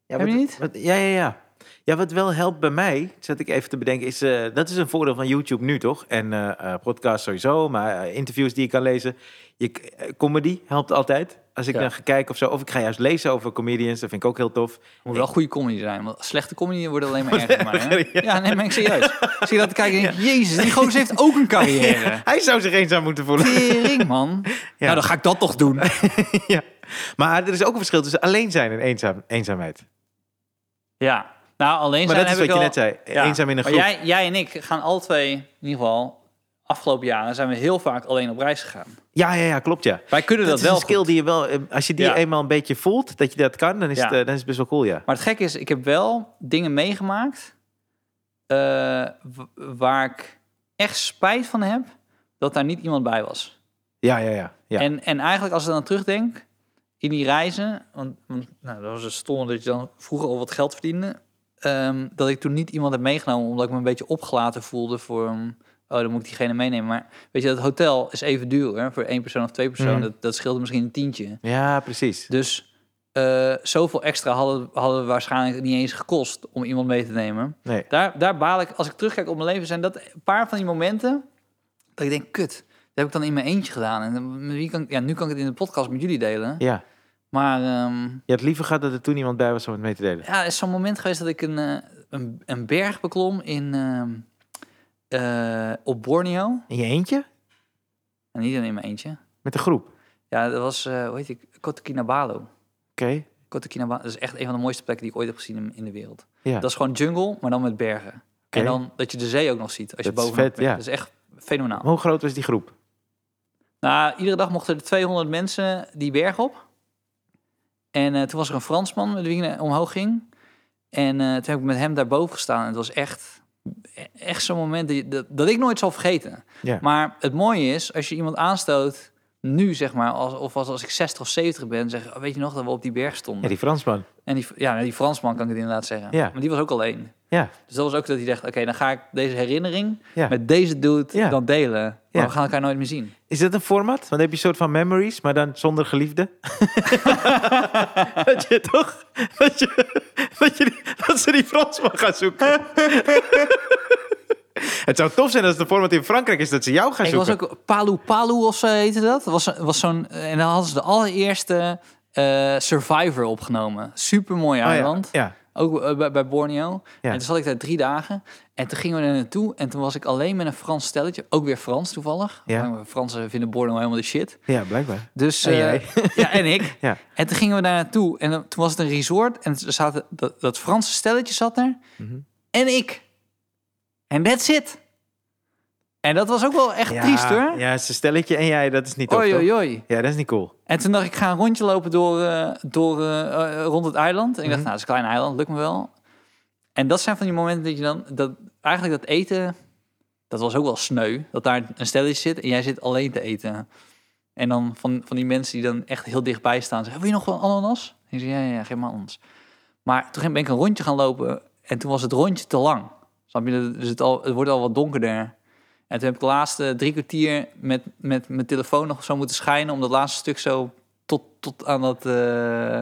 S1: Ja,
S2: Heb
S1: wat-
S2: je niet?
S1: wat- ja, ja, ja. Ja, wat wel helpt bij mij, zat ik even te bedenken, is eh, dat is een voordeel van YouTube nu toch? En eh eh, podcasts sowieso, maar eh, interviews die ik kan lezen. Je, k- eh, comedy helpt altijd. Als ik
S2: Ja.
S1: dan ga kijken of zo, of ik ga juist lezen over comedians, dat vind ik ook heel tof.
S2: moet wel goede comedy zijn, want slechte comedy wordt alleen maar erger. Maar, hè?
S1: erger,
S2: Ja, nee, maar ik serieus. Zie je dat te kijken en denk ik, jezus, die gozer heeft ook een carrière.
S1: eh, Hij zou zich eenzaam moeten voelen.
S2: Tering, man. Nou, dan ga ik dat toch doen.
S1: ja. Maar er is ook een verschil tussen alleen zijn en eenzaam, eenzaamheid.
S2: Ja, nou alleen
S1: Maar
S2: zijn
S1: dat is
S2: heb
S1: wat je
S2: ik wel-
S1: net zei, eenzaam in een
S2: maar
S1: groep.
S2: Jij, jij en ik gaan alle twee, in ieder geval, afgelopen jaren zijn we heel vaak alleen op reis gegaan.
S1: Ja, ja, ja, klopt ja.
S2: Wij kunnen
S1: Dat,
S2: dat,
S1: is
S2: wel
S1: een skill
S2: goed.
S1: die je wel, eh, als je die
S2: Ja.
S1: eenmaal een beetje voelt, dat je dat kan, dan is,
S2: Ja.
S1: het, eh, dan is het best wel cool ja.
S2: Maar het gekke is, ik heb wel dingen meegemaakt eh, w- waar ik echt spijt van heb dat daar niet iemand bij was.
S1: Ja, ja, ja. ja.
S2: En, en eigenlijk als ik dan terugdenk in die reizen, want, want nou, dat was een stom dat je dan vroeger al wat geld verdiende, ehm, dat ik toen niet iemand heb meegenomen omdat ik me een beetje opgelaten voelde voor een, oh dan moet ik diegene meenemen. Maar weet je, dat hotel is even duur hè, voor één persoon of twee personen.
S1: Mhm.
S2: Dat, dat scheelde misschien een tientje.
S1: Ja, precies.
S2: Dus eh, zoveel extra hadden, hadden we waarschijnlijk niet eens gekost om iemand mee te nemen.
S1: Nee.
S2: Daar, daar baal ik, als ik terugkijk op mijn leven, zijn dat een paar van die momenten dat ik denk, kut, dat heb ik dan in mijn eentje gedaan. En dan- met wie kan, ik- ja, nu kan ik het in de podcast met jullie delen.
S1: Ja.
S2: Maar ehm,
S1: Je had liever gehad dat er toen iemand bij was om het mee te delen.
S2: ja, er is zo'n moment geweest dat ik een, eh, een, een berg beklom in, ehm, eh, op Borneo.
S1: In je eentje?
S2: En niet alleen in mijn eentje.
S1: Met de groep. Oké.
S2: Ja, dat was, eh hoe heet ik, Kota Kinabalu. Kota Kinabalu, dat is echt een van de mooiste plekken die ik ooit heb gezien in, in de wereld.
S1: Ja.
S2: Dat is gewoon jungle, maar dan met bergen. En dan dat je de zee ook nog ziet als je
S1: Dat is
S2: bovenop
S1: vet,
S2: bent.
S1: ja.
S2: Dat is echt fenomenaal.
S1: Maar hoe groot was die groep?
S2: Nou, iedere dag mochten er 200 mensen die berg op. En eh, toen was er een Fransman met wie ik naar- omhoog ging. En eh, toen heb ik met hem daarboven gestaan. En het was echt, e- echt zo'n moment die- dat, dat ik nooit zal vergeten.
S1: Ja.
S2: Maar het mooie is, als je iemand aanstoot nu, zeg maar, als, of als, als ik 60 of 70 ben, zeg ik, "Oh, weet je nog dat we op die berg stonden?
S1: Ja, die Fransman.
S2: En die, ja, die Fransman kan ik het inderdaad zeggen.
S1: Ja.
S2: Maar die was ook alleen.
S1: Ja,
S2: Dus dat was ook dat hij dacht, oké, dan ga ik deze herinnering
S1: ja.
S2: met deze dude
S1: Ja.
S2: dan delen. Maar
S1: Ja.
S2: we gaan elkaar nooit meer zien.
S1: Is dat een format? Want dan heb je een soort van memories, maar dan zonder geliefde. dat je toch... Dat, je, dat, je, die- dat ze die Fransman gaan zoeken. het zou tof zijn als de format in Frankrijk is dat ze jou gaan
S2: Ik was
S1: zoeken.
S2: ook Palu Palu of zo heette dat. Dat was, was zo'n, en dan hadden ze de allereerste eh, Survivor opgenomen. Super mooi
S1: Oh ja,
S2: eiland.
S1: ja.
S2: Ook eh, bij, bij Borneo.
S1: Ja.
S2: En toen zat ik daar drie dagen. En toen gingen we er naartoe. En toen was ik alleen met een Frans stelletje. Ook weer Frans toevallig.
S1: Ja.
S2: Maar Fransen vinden Borneo helemaal de shit.
S1: ja, blijkbaar.
S2: Dus,
S1: En
S2: eh,
S1: jij.
S2: ja, en ik.
S1: Ja.
S2: En toen gingen we daar naartoe. En dan- toen was het een resort. En er zaten, dat, dat Franse stelletje zat er.
S1: Mhm.
S2: En ik. En that's it. En dat was ook wel echt
S1: Ja,
S2: triest hoor.
S1: Ja, ze stelletje en jij, dat is niet tof,
S2: Oei,
S1: toch?
S2: oei, oei.
S1: Ja, dat is niet cool.
S2: En toen dacht ik, ik ga een rondje lopen door, eh, door, eh, eh, rond het eiland. En ik dacht, nou, het is een klein eiland, lukt me wel. En dat zijn van die momenten dat je dan... Dat, eigenlijk dat eten, dat was ook wel sneu. Dat daar een stelletje zit en jij zit alleen te eten. En dan van, van die mensen die dan echt heel dichtbij staan. Zeggen, wil je nog wel ananas? En ik zei, ja, ja, ja, geef maar ananas. Maar toen ben ik een rondje gaan lopen en toen was het rondje te lang. Snap je? Dus het, al, het wordt al wat donkerder. En toen heb ik de laatste drie kwartier met, met mijn telefoon nog zo moeten schijnen... om dat laatste stuk zo tot, tot aan dat eh,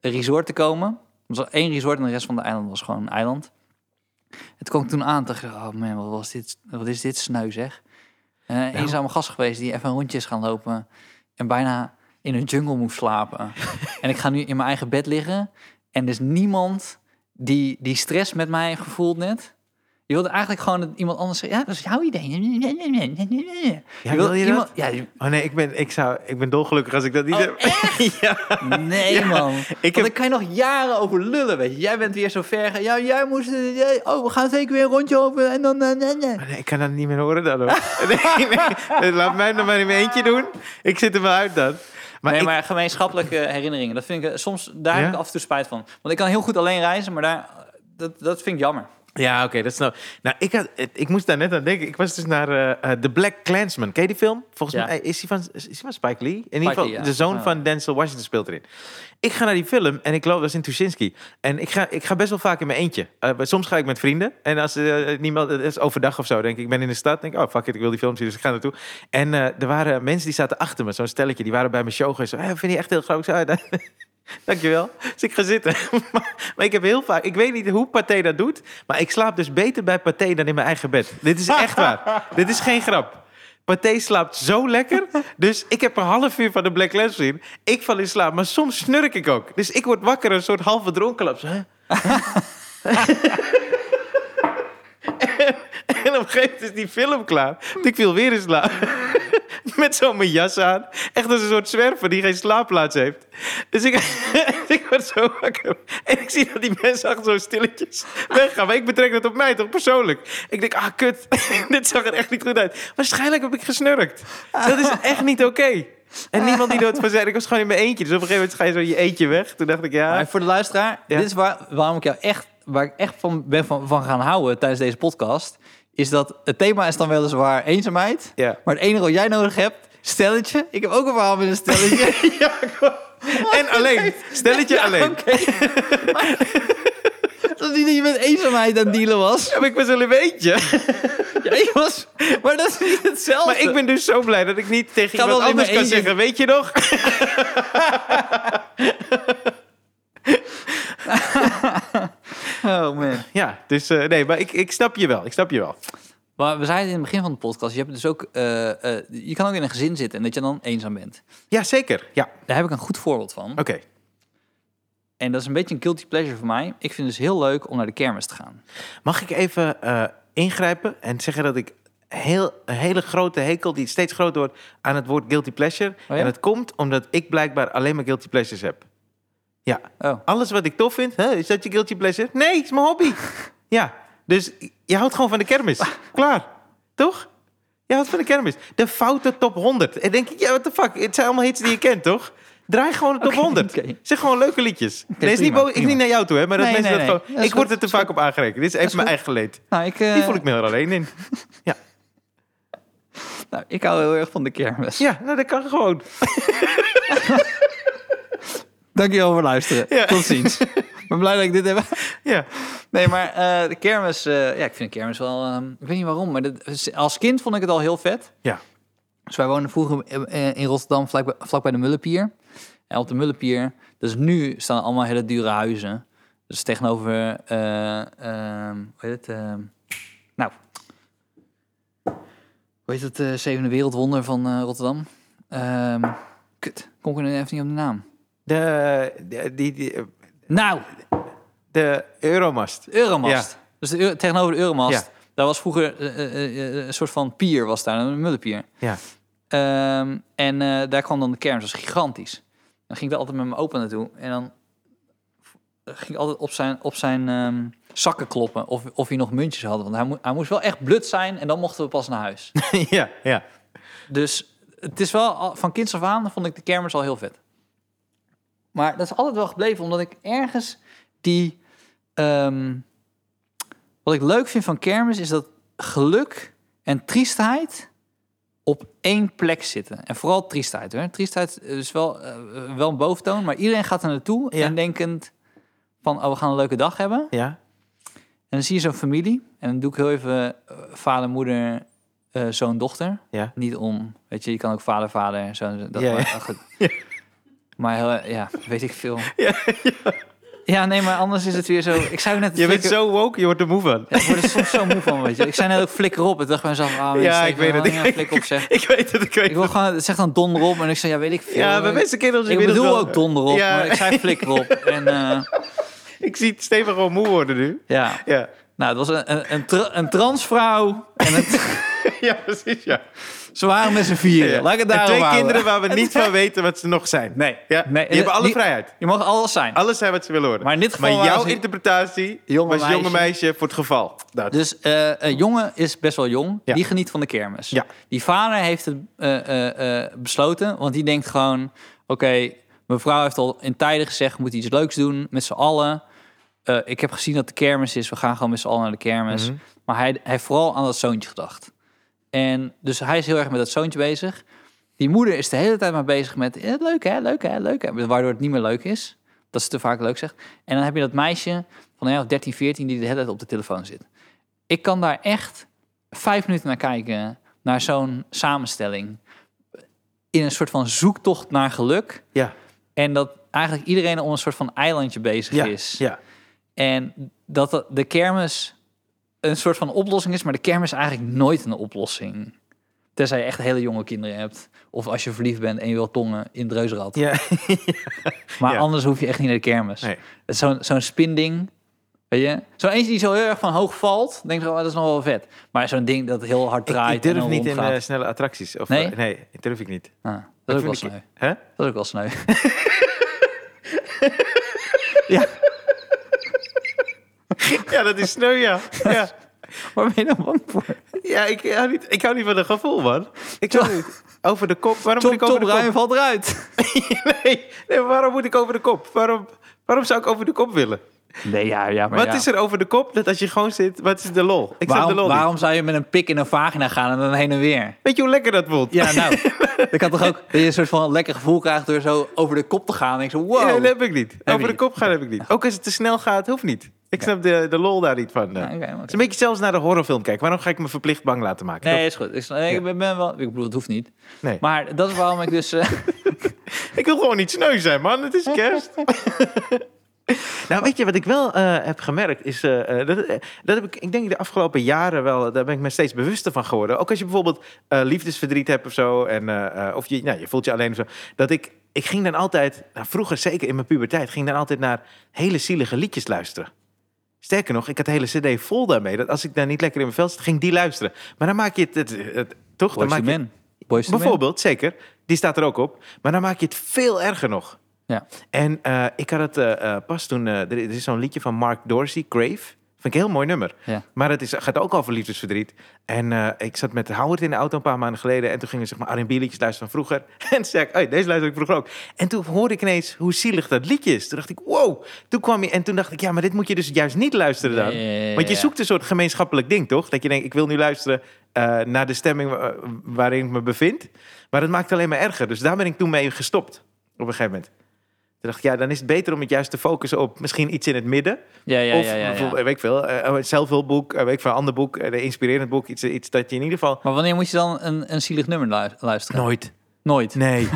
S2: resort te komen. Er was één resort en de rest van de eiland was gewoon een eiland. Het kwam ik toen aan en dacht ik, oh man, wat, was dit, wat is dit sneu zeg. Eh Eenzame gast geweest die even een rondje is gaan lopen... en bijna in een jungle moest slapen. en ik ga nu in mijn eigen bed liggen... en er is niemand die, die stress met mij heeft gevoeld net... Je wilde eigenlijk gewoon dat iemand anders zegt, ja, dat is jouw idee. Je
S1: wil je dat?
S2: iemand, ja, je-
S1: Oh nee, ik ben, ik zou, ik ben dolgelukkig als ik dat niet
S2: Oh,
S1: heb. ja.
S2: Nee, man. Ik
S1: heb-
S2: Want daar kan je nog jaren over lullen, weet je. Jij bent weer zo ver. ge- Ja, jij moest... eh, jij- oh, we gaan zeker weer een rondje over en dan... eh, nee, nee.
S1: Oh, nee, ik kan dat niet meer horen dan hoor. nee, nee, laat mij nog maar in mijn eentje doen. Ik zit er wel uit dan. Maar,
S2: nee,
S1: ik-
S2: maar gemeenschappelijke herinneringen. Dat vind ik... eh, Soms, daar
S1: Ja?
S2: heb ik af en toe spijt van. Want ik kan heel goed alleen reizen, maar daar... Dat, dat vind ik jammer.
S1: ja, oké, dat snap ik. Nou, ik, had, het- ik moest daar net aan denken. Ik was dus naar eh, eh, The Black Clansman. Ken je die film? Volgens
S2: Ja.
S1: mij eh, is die, van, is die van Spike Lee. In ieder geval,
S2: Lee, ja. Ah.
S1: de zoon
S2: Ja.
S1: van Denzel Washington speelt erin. Ik ga naar die film en ik loop, dat is in Tuschinski. En ik ga, ik ga best wel vaak in mijn eentje. Eh, maar soms ga ik met vrienden. En als eh, niemand, het is overdag of zo, denk ik, ik ben in de stad. denk ik, oh fuck it, ik wil die film zien, dus ik ga naartoe. En eh, er waren mensen die zaten achter me, zo'n stelletje. Die waren bij mijn show geweest. Zo, hey, vind je echt heel grappig? Ik zei, "Ah, da- Dankjewel. Dus ik ga zitten. maar, maar ik heb heel vaak, ik weet niet hoe Pathé dat doet. Maar ik slaap dus beter bij Pathé dan in mijn eigen bed. Dit is echt waar. Dit is geen grap. Pathé slaapt zo lekker. Dus ik heb een half uur van de Black Lens gezien. Ik val in slaap, maar soms snurk ik ook. Dus ik word wakker, een soort halve dronkenlaps. Huh? En op een gegeven moment is die film klaar. Want Ik viel weer in slaap. Met zo'n mijn jas aan. Echt als een soort zwerver die geen slaapplaats heeft. Dus ik, ik word zo wakker. En ik zie dat die mensen achter zo stilletjes weggaan. Maar ik betrek dat op mij toch persoonlijk. Ik denk, ah kut, dit zag er echt niet goed uit. Waarschijnlijk heb ik gesnurkt. Dat is echt niet oké. En niemand die dat van zei. Ik was gewoon in mijn eentje. Dus op een gegeven moment ga je zo je eentje weg. Toen dacht ik, ja...
S2: Maar voor de luisteraar,
S1: Ja.
S2: dit is waar, waarom ik jou echt, waar ik echt van ben van, van gaan houden tijdens deze podcast. Is dat het thema is dan weliswaar eenzaamheid.
S1: Ja.
S2: Maar het enige wat jij nodig hebt, stelletje. Ik heb ook een verhaal met een stelletje.
S1: ja en alleen. Stelletje alleen.
S2: Dat is niet dat je met eenzaamheid aan het dealen was.
S1: Heb ik was wel in mijn eentje.
S2: Ja, ik was. Maar dat is niet hetzelfde.
S1: Maar ik ben dus zo blij dat ik niet tegen
S2: Ga
S1: iemand
S2: wel in
S1: anders
S2: mijn
S1: kan
S2: eentje.
S1: zeggen, weet je nog?
S2: Oh man.
S1: Ja, dus eh, nee, maar ik, ik snap je wel, ik snap je wel.
S2: Maar we zeiden in het begin van de podcast, je hebt dus ook, eh, eh, je kan ook in een gezin zitten en dat je dan eenzaam bent.
S1: Ja, zeker. Ja,
S2: Daar heb ik een goed voorbeeld van.
S1: oké.
S2: En dat is een beetje een guilty pleasure voor mij. Ik vind het dus heel leuk om naar de kermis te gaan.
S1: Mag ik even eh, ingrijpen en zeggen dat ik heel, een hele grote hekel, die steeds groter wordt, aan het woord guilty pleasure.
S2: ja?
S1: En dat komt omdat ik blijkbaar alleen maar guilty pleasures heb. Ja.
S2: Oh.
S1: Alles wat ik tof vind, hè, is dat je guilty pleasure? Nee, het is mijn hobby. ja, dus je houdt gewoon van de kermis. Klaar. Toch? Je houdt van de kermis. De foute top 100. En denk ik, ja, what the fuck? Het zijn allemaal hits die je kent, toch? Draai gewoon de top
S2: Oké,
S1: 100.
S2: oké.
S1: Zeg gewoon leuke liedjes. nee, is niet
S2: prima,
S1: boos, ik
S2: prima.
S1: niet naar jou toe, hè? Maar dat
S2: Nee,
S1: mensen
S2: nee,
S1: dat
S2: nee.
S1: gewoon-
S2: Dat is
S1: ik word
S2: goed,
S1: er te vaak op aangerekend. Dit is even
S2: is
S1: mijn eigen geleed.
S2: Nou, ik, eh,
S1: Die voel ik me heel alleen in.
S2: nou, ik hou heel erg van de kermis.
S1: Ja, nou, dat kan gewoon.
S2: Dankjewel voor het luisteren.
S1: Ja.
S2: Tot ziens. Ik ben blij dat ik dit heb.
S1: Ja.
S2: Nee, maar eh, de kermis... eh, ja, ik vind de kermis wel... ehm, ik weet niet waarom, maar dat- als kind vond ik het al heel vet.
S1: Ja.
S2: Dus wij woonden vroeger eh, in Rotterdam vlak bij, vlak bij de Mullenpier. En op de Mullenpier, dus nu staan allemaal hele dure huizen. Dus tegenover, eh, ehm, hoe heet het? ehm, nou, hoe heet het eh, zevende wereldwonder van eh, Rotterdam? Ehm, kut, kom ik er nu even niet op de naam.
S1: De, de, die, die-
S2: Nou,
S1: de Euromast.
S2: Euromast. Dus de, Eu- tegenover de Euromast.
S1: Ja.
S2: Daar was vroeger eh, eh, eh, een soort van pier, was daar, een mullenpier.
S1: Ja.
S2: Ehm, en eh, daar kwam dan de kermis, dat was gigantisch. Dan ging ik daar altijd met mijn opa naartoe. En dan ging ik altijd op zijn, op zijn ehm, zakken kloppen of, of hij nog muntjes had. Want hij, mo- hij moest wel echt blut zijn en dan mochten we pas naar huis.
S1: ja, ja.
S2: dus het is wel, al- van kinds af aan vond ik de kermis al heel vet. Maar dat is altijd wel gebleven, omdat ik ergens die... ehm, wat ik leuk vind van kermis is dat geluk en triestheid op één plek zitten. En vooral triestheid. Hoor. Triestheid is wel, eh, wel een boventoon, maar iedereen gaat er naartoe
S1: Ja.
S2: en denkend van, oh, we gaan een leuke dag hebben.
S1: Ja.
S2: En dan zie je zo'n familie. En dan doe ik heel even eh, vader, moeder, eh, zoon, dochter.
S1: Ja.
S2: Niet om, weet je, je kan ook vader, vader, zoon, zoon, dat
S1: Ja,
S2: maar,
S1: ja.
S2: ah, goed. Maar heel, eh, ja, weet ik veel.
S1: Ja,
S2: Ja, nee, maar anders is het weer zo. Ik zou net.
S1: Je bent
S2: flikker-
S1: zo woke, je wordt er moe van.
S2: Ja, ik word er soms zo moe van, weet je. Ik zei net ook flikker op. Ik dacht bij mezelf, ah,
S1: Ja, ik weet het.
S2: Ja, flikker op zeg.
S1: Ik weet het, ik eh, weet
S2: Ik wil
S1: het.
S2: gewoon, het zegt dan donderop. En ik zei, ja, weet ik veel.
S1: Ja, bij mensen kinderen...
S2: ik
S1: weet het
S2: bedoel
S1: wel.
S2: ook donderop,
S1: Ja.
S2: maar ik zei flikker op. En eh,
S1: Ik zie Steven gewoon moe worden nu.
S2: ja,
S1: Ja,
S2: nou, het was een, een, een, tra- een transvrouw en een
S1: ja precies, ja.
S2: Ze waren met z'n vieren.
S1: ja.
S2: Laat ik het
S1: en
S2: daarop
S1: twee
S2: houden.
S1: kinderen waar we niet van weten wat ze nog zijn.
S2: Nee.
S1: Ja,
S2: Nee,
S1: eh, die hebben alle
S2: die-
S1: vrijheid.
S2: Je mag alles zijn.
S1: Alles zijn wat ze willen horen.
S2: Maar in dit geval waren
S1: jouw
S2: ze-
S1: interpretatie
S2: Jonge
S1: was jonge
S2: meisje.
S1: meisje voor het geval. Dat.
S2: Dus eh, een jongen is best wel jong.
S1: Ja.
S2: Die geniet van de kermis.
S1: Ja.
S2: Die vader heeft het eh, eh, eh, besloten. Want die denkt gewoon... Oké, mevrouw heeft al in tijden gezegd... we moeten iets leuks doen met z'n allen. Eh, ik heb gezien dat de kermis is. We gaan gewoon met z'n allen naar de kermis.
S1: Mhm.
S2: Maar hij, hij heeft vooral aan dat zoontje gedacht. En dus hij is heel erg met dat zoontje bezig. Die moeder is de hele tijd maar bezig met... eh, leuk hè, leuk hè, leuk hè. Waardoor het niet meer leuk is. Dat ze te vaak leuk zegt. En dan heb je dat meisje van een jaar of 13, 14... die de hele tijd op de telefoon zit. Ik kan daar echt vijf minuten naar kijken. Naar zo'n samenstelling. In een soort van zoektocht naar geluk.
S1: Ja,
S2: En dat eigenlijk iedereen om een soort van eilandje bezig
S1: ja,
S2: is.
S1: ja.
S2: En dat de- de kermis een soort van oplossing is, maar de kermis is eigenlijk nooit een oplossing. Tenzij je echt hele jonge kinderen hebt. Of als je verliefd bent en je wil tongen in het reuzenrad.
S1: ja.
S2: maar
S1: ja.
S2: anders hoef je echt niet naar de kermis.
S1: Nee.
S2: Het is Zo'n zo'n spinding. Weet je? Zo'n eentje die zo heel erg van hoog valt. Denk je, oh, dat is nog wel vet. Maar zo'n ding dat heel hard
S1: Ik,
S2: draait.
S1: ik durf
S2: en
S1: niet in
S2: rondgaat.
S1: eh, snelle attracties. Of,
S2: Nee?
S1: eh, nee, dat durf ik niet.
S2: Ah, dat is ook wel
S1: vind ik- Hè?
S2: sneu. Dat is ook wel sneu. ja,
S1: Ja, dat is sneu, ja. ja.
S2: waar ben je dan bang voor?
S1: Ja, ik hou, niet, ik hou niet van een gevoel, man. Ik hou niet. Over de kop. Waarom
S2: Tom,
S1: moet ik over
S2: Tom
S1: de
S2: Ruijn valt eruit.
S1: kop? Nee, nee, waarom moet ik over de kop? Waarom, waarom zou ik over de kop willen?
S2: Nee, ja, ja, maar
S1: wat
S2: ja.
S1: is er over de kop dat als je gewoon zit, wat is de lol? Ik snap de
S2: Waarom,
S1: lol niet.
S2: waarom zou je met een pik in een vagina gaan en dan heen en weer?
S1: Weet je hoe lekker dat voelt?
S2: Ja, nou. dat kan toch ook dat je een soort van lekker gevoel krijgt door zo over de kop te gaan. En ik zo, wow.
S1: Nee, dat heb ik niet.
S2: je
S1: over de
S2: niet.
S1: kop gaan heb ik niet. Ook als het te snel gaat, hoeft niet. Ik snap de, de lol daar niet van. eh.
S2: Ja, oké, maar-
S1: Het is een beetje zelfs naar de horrorfilm kijken. Waarom ga ik me verplicht bang laten maken?
S2: Nee, is goed. Ik, snap- nee, ik ben ben wel... Ik bedoel, het hoeft niet.
S1: Nee.
S2: Maar dat is waarom ik dus... eh,
S1: Ik wil gewoon niet sneu zijn, man. Het is kerst. nou, weet je wat ik wel eh, heb gemerkt? Is, eh, eh, dat, eh, dat heb ik, ik denk de afgelopen jaren wel, eh, daar ben ik me steeds bewuster van geworden. Ook als je bijvoorbeeld eh, liefdesverdriet hebt of zo. En, eh, eh, of je, nou, je voelt je alleen of zo. Dat ik, ik ging dan altijd, nou, vroeger zeker in mijn puberteit, ging ik dan altijd naar hele zielige liedjes luisteren. Sterker nog, ik had de hele CD vol daarmee. Dat als ik daar niet lekker in mijn vel zat, ging ik die luisteren. Maar dan maak je het, het, het- toch? dan
S2: Boys
S1: maak
S2: to
S1: je,
S2: men. Boys to men.
S1: Bijvoorbeeld, zeker. Die staat er ook op. Maar dan maak je het veel erger nog.
S2: Ja.
S1: En eh, ik had het eh, eh, pas toen... eh, er er is zo'n liedje van Mark Dorsey, Crave. Vind ik een heel mooi nummer.
S2: Ja.
S1: Maar het is, gaat ook over liefdesverdriet. En eh, ik zat met Howard in de auto een paar maanden geleden. En toen gingen we zeg maar R&B liedjes luisteren van vroeger. En toen zei ik, "Oei, deze luister ik vroeger ook. En toen hoorde ik ineens hoe zielig dat liedje is. Toen dacht ik, wow. Toen kwam je, en toen dacht ik, ja, maar dit moet je dus juist niet luisteren dan.
S2: Ja, ja, ja, ja,
S1: Want je
S2: ja.
S1: zoekt een soort gemeenschappelijk ding, toch? Dat je denkt, ik wil nu luisteren eh, naar de stemming wa- waarin ik me bevind. Maar dat maakt het alleen maar erger. Dus daar ben ik toen mee gestopt op een gegeven moment. Toen dacht ik, ja, dan is het beter om het juist te focussen op misschien iets in het midden.
S2: Ja, ja,
S1: of
S2: ja, ja, ja.
S1: bijvoorbeeld, eh, weet ik veel, eh, een zelfhulpboek, eh, weet ik veel, een ander boek, eh, een inspirerend boek. Iets, iets dat je in ieder geval...
S2: Maar wanneer moet je dan een, een zielig nummer lu- luisteren?
S1: Nooit.
S2: Nooit.
S1: Nee,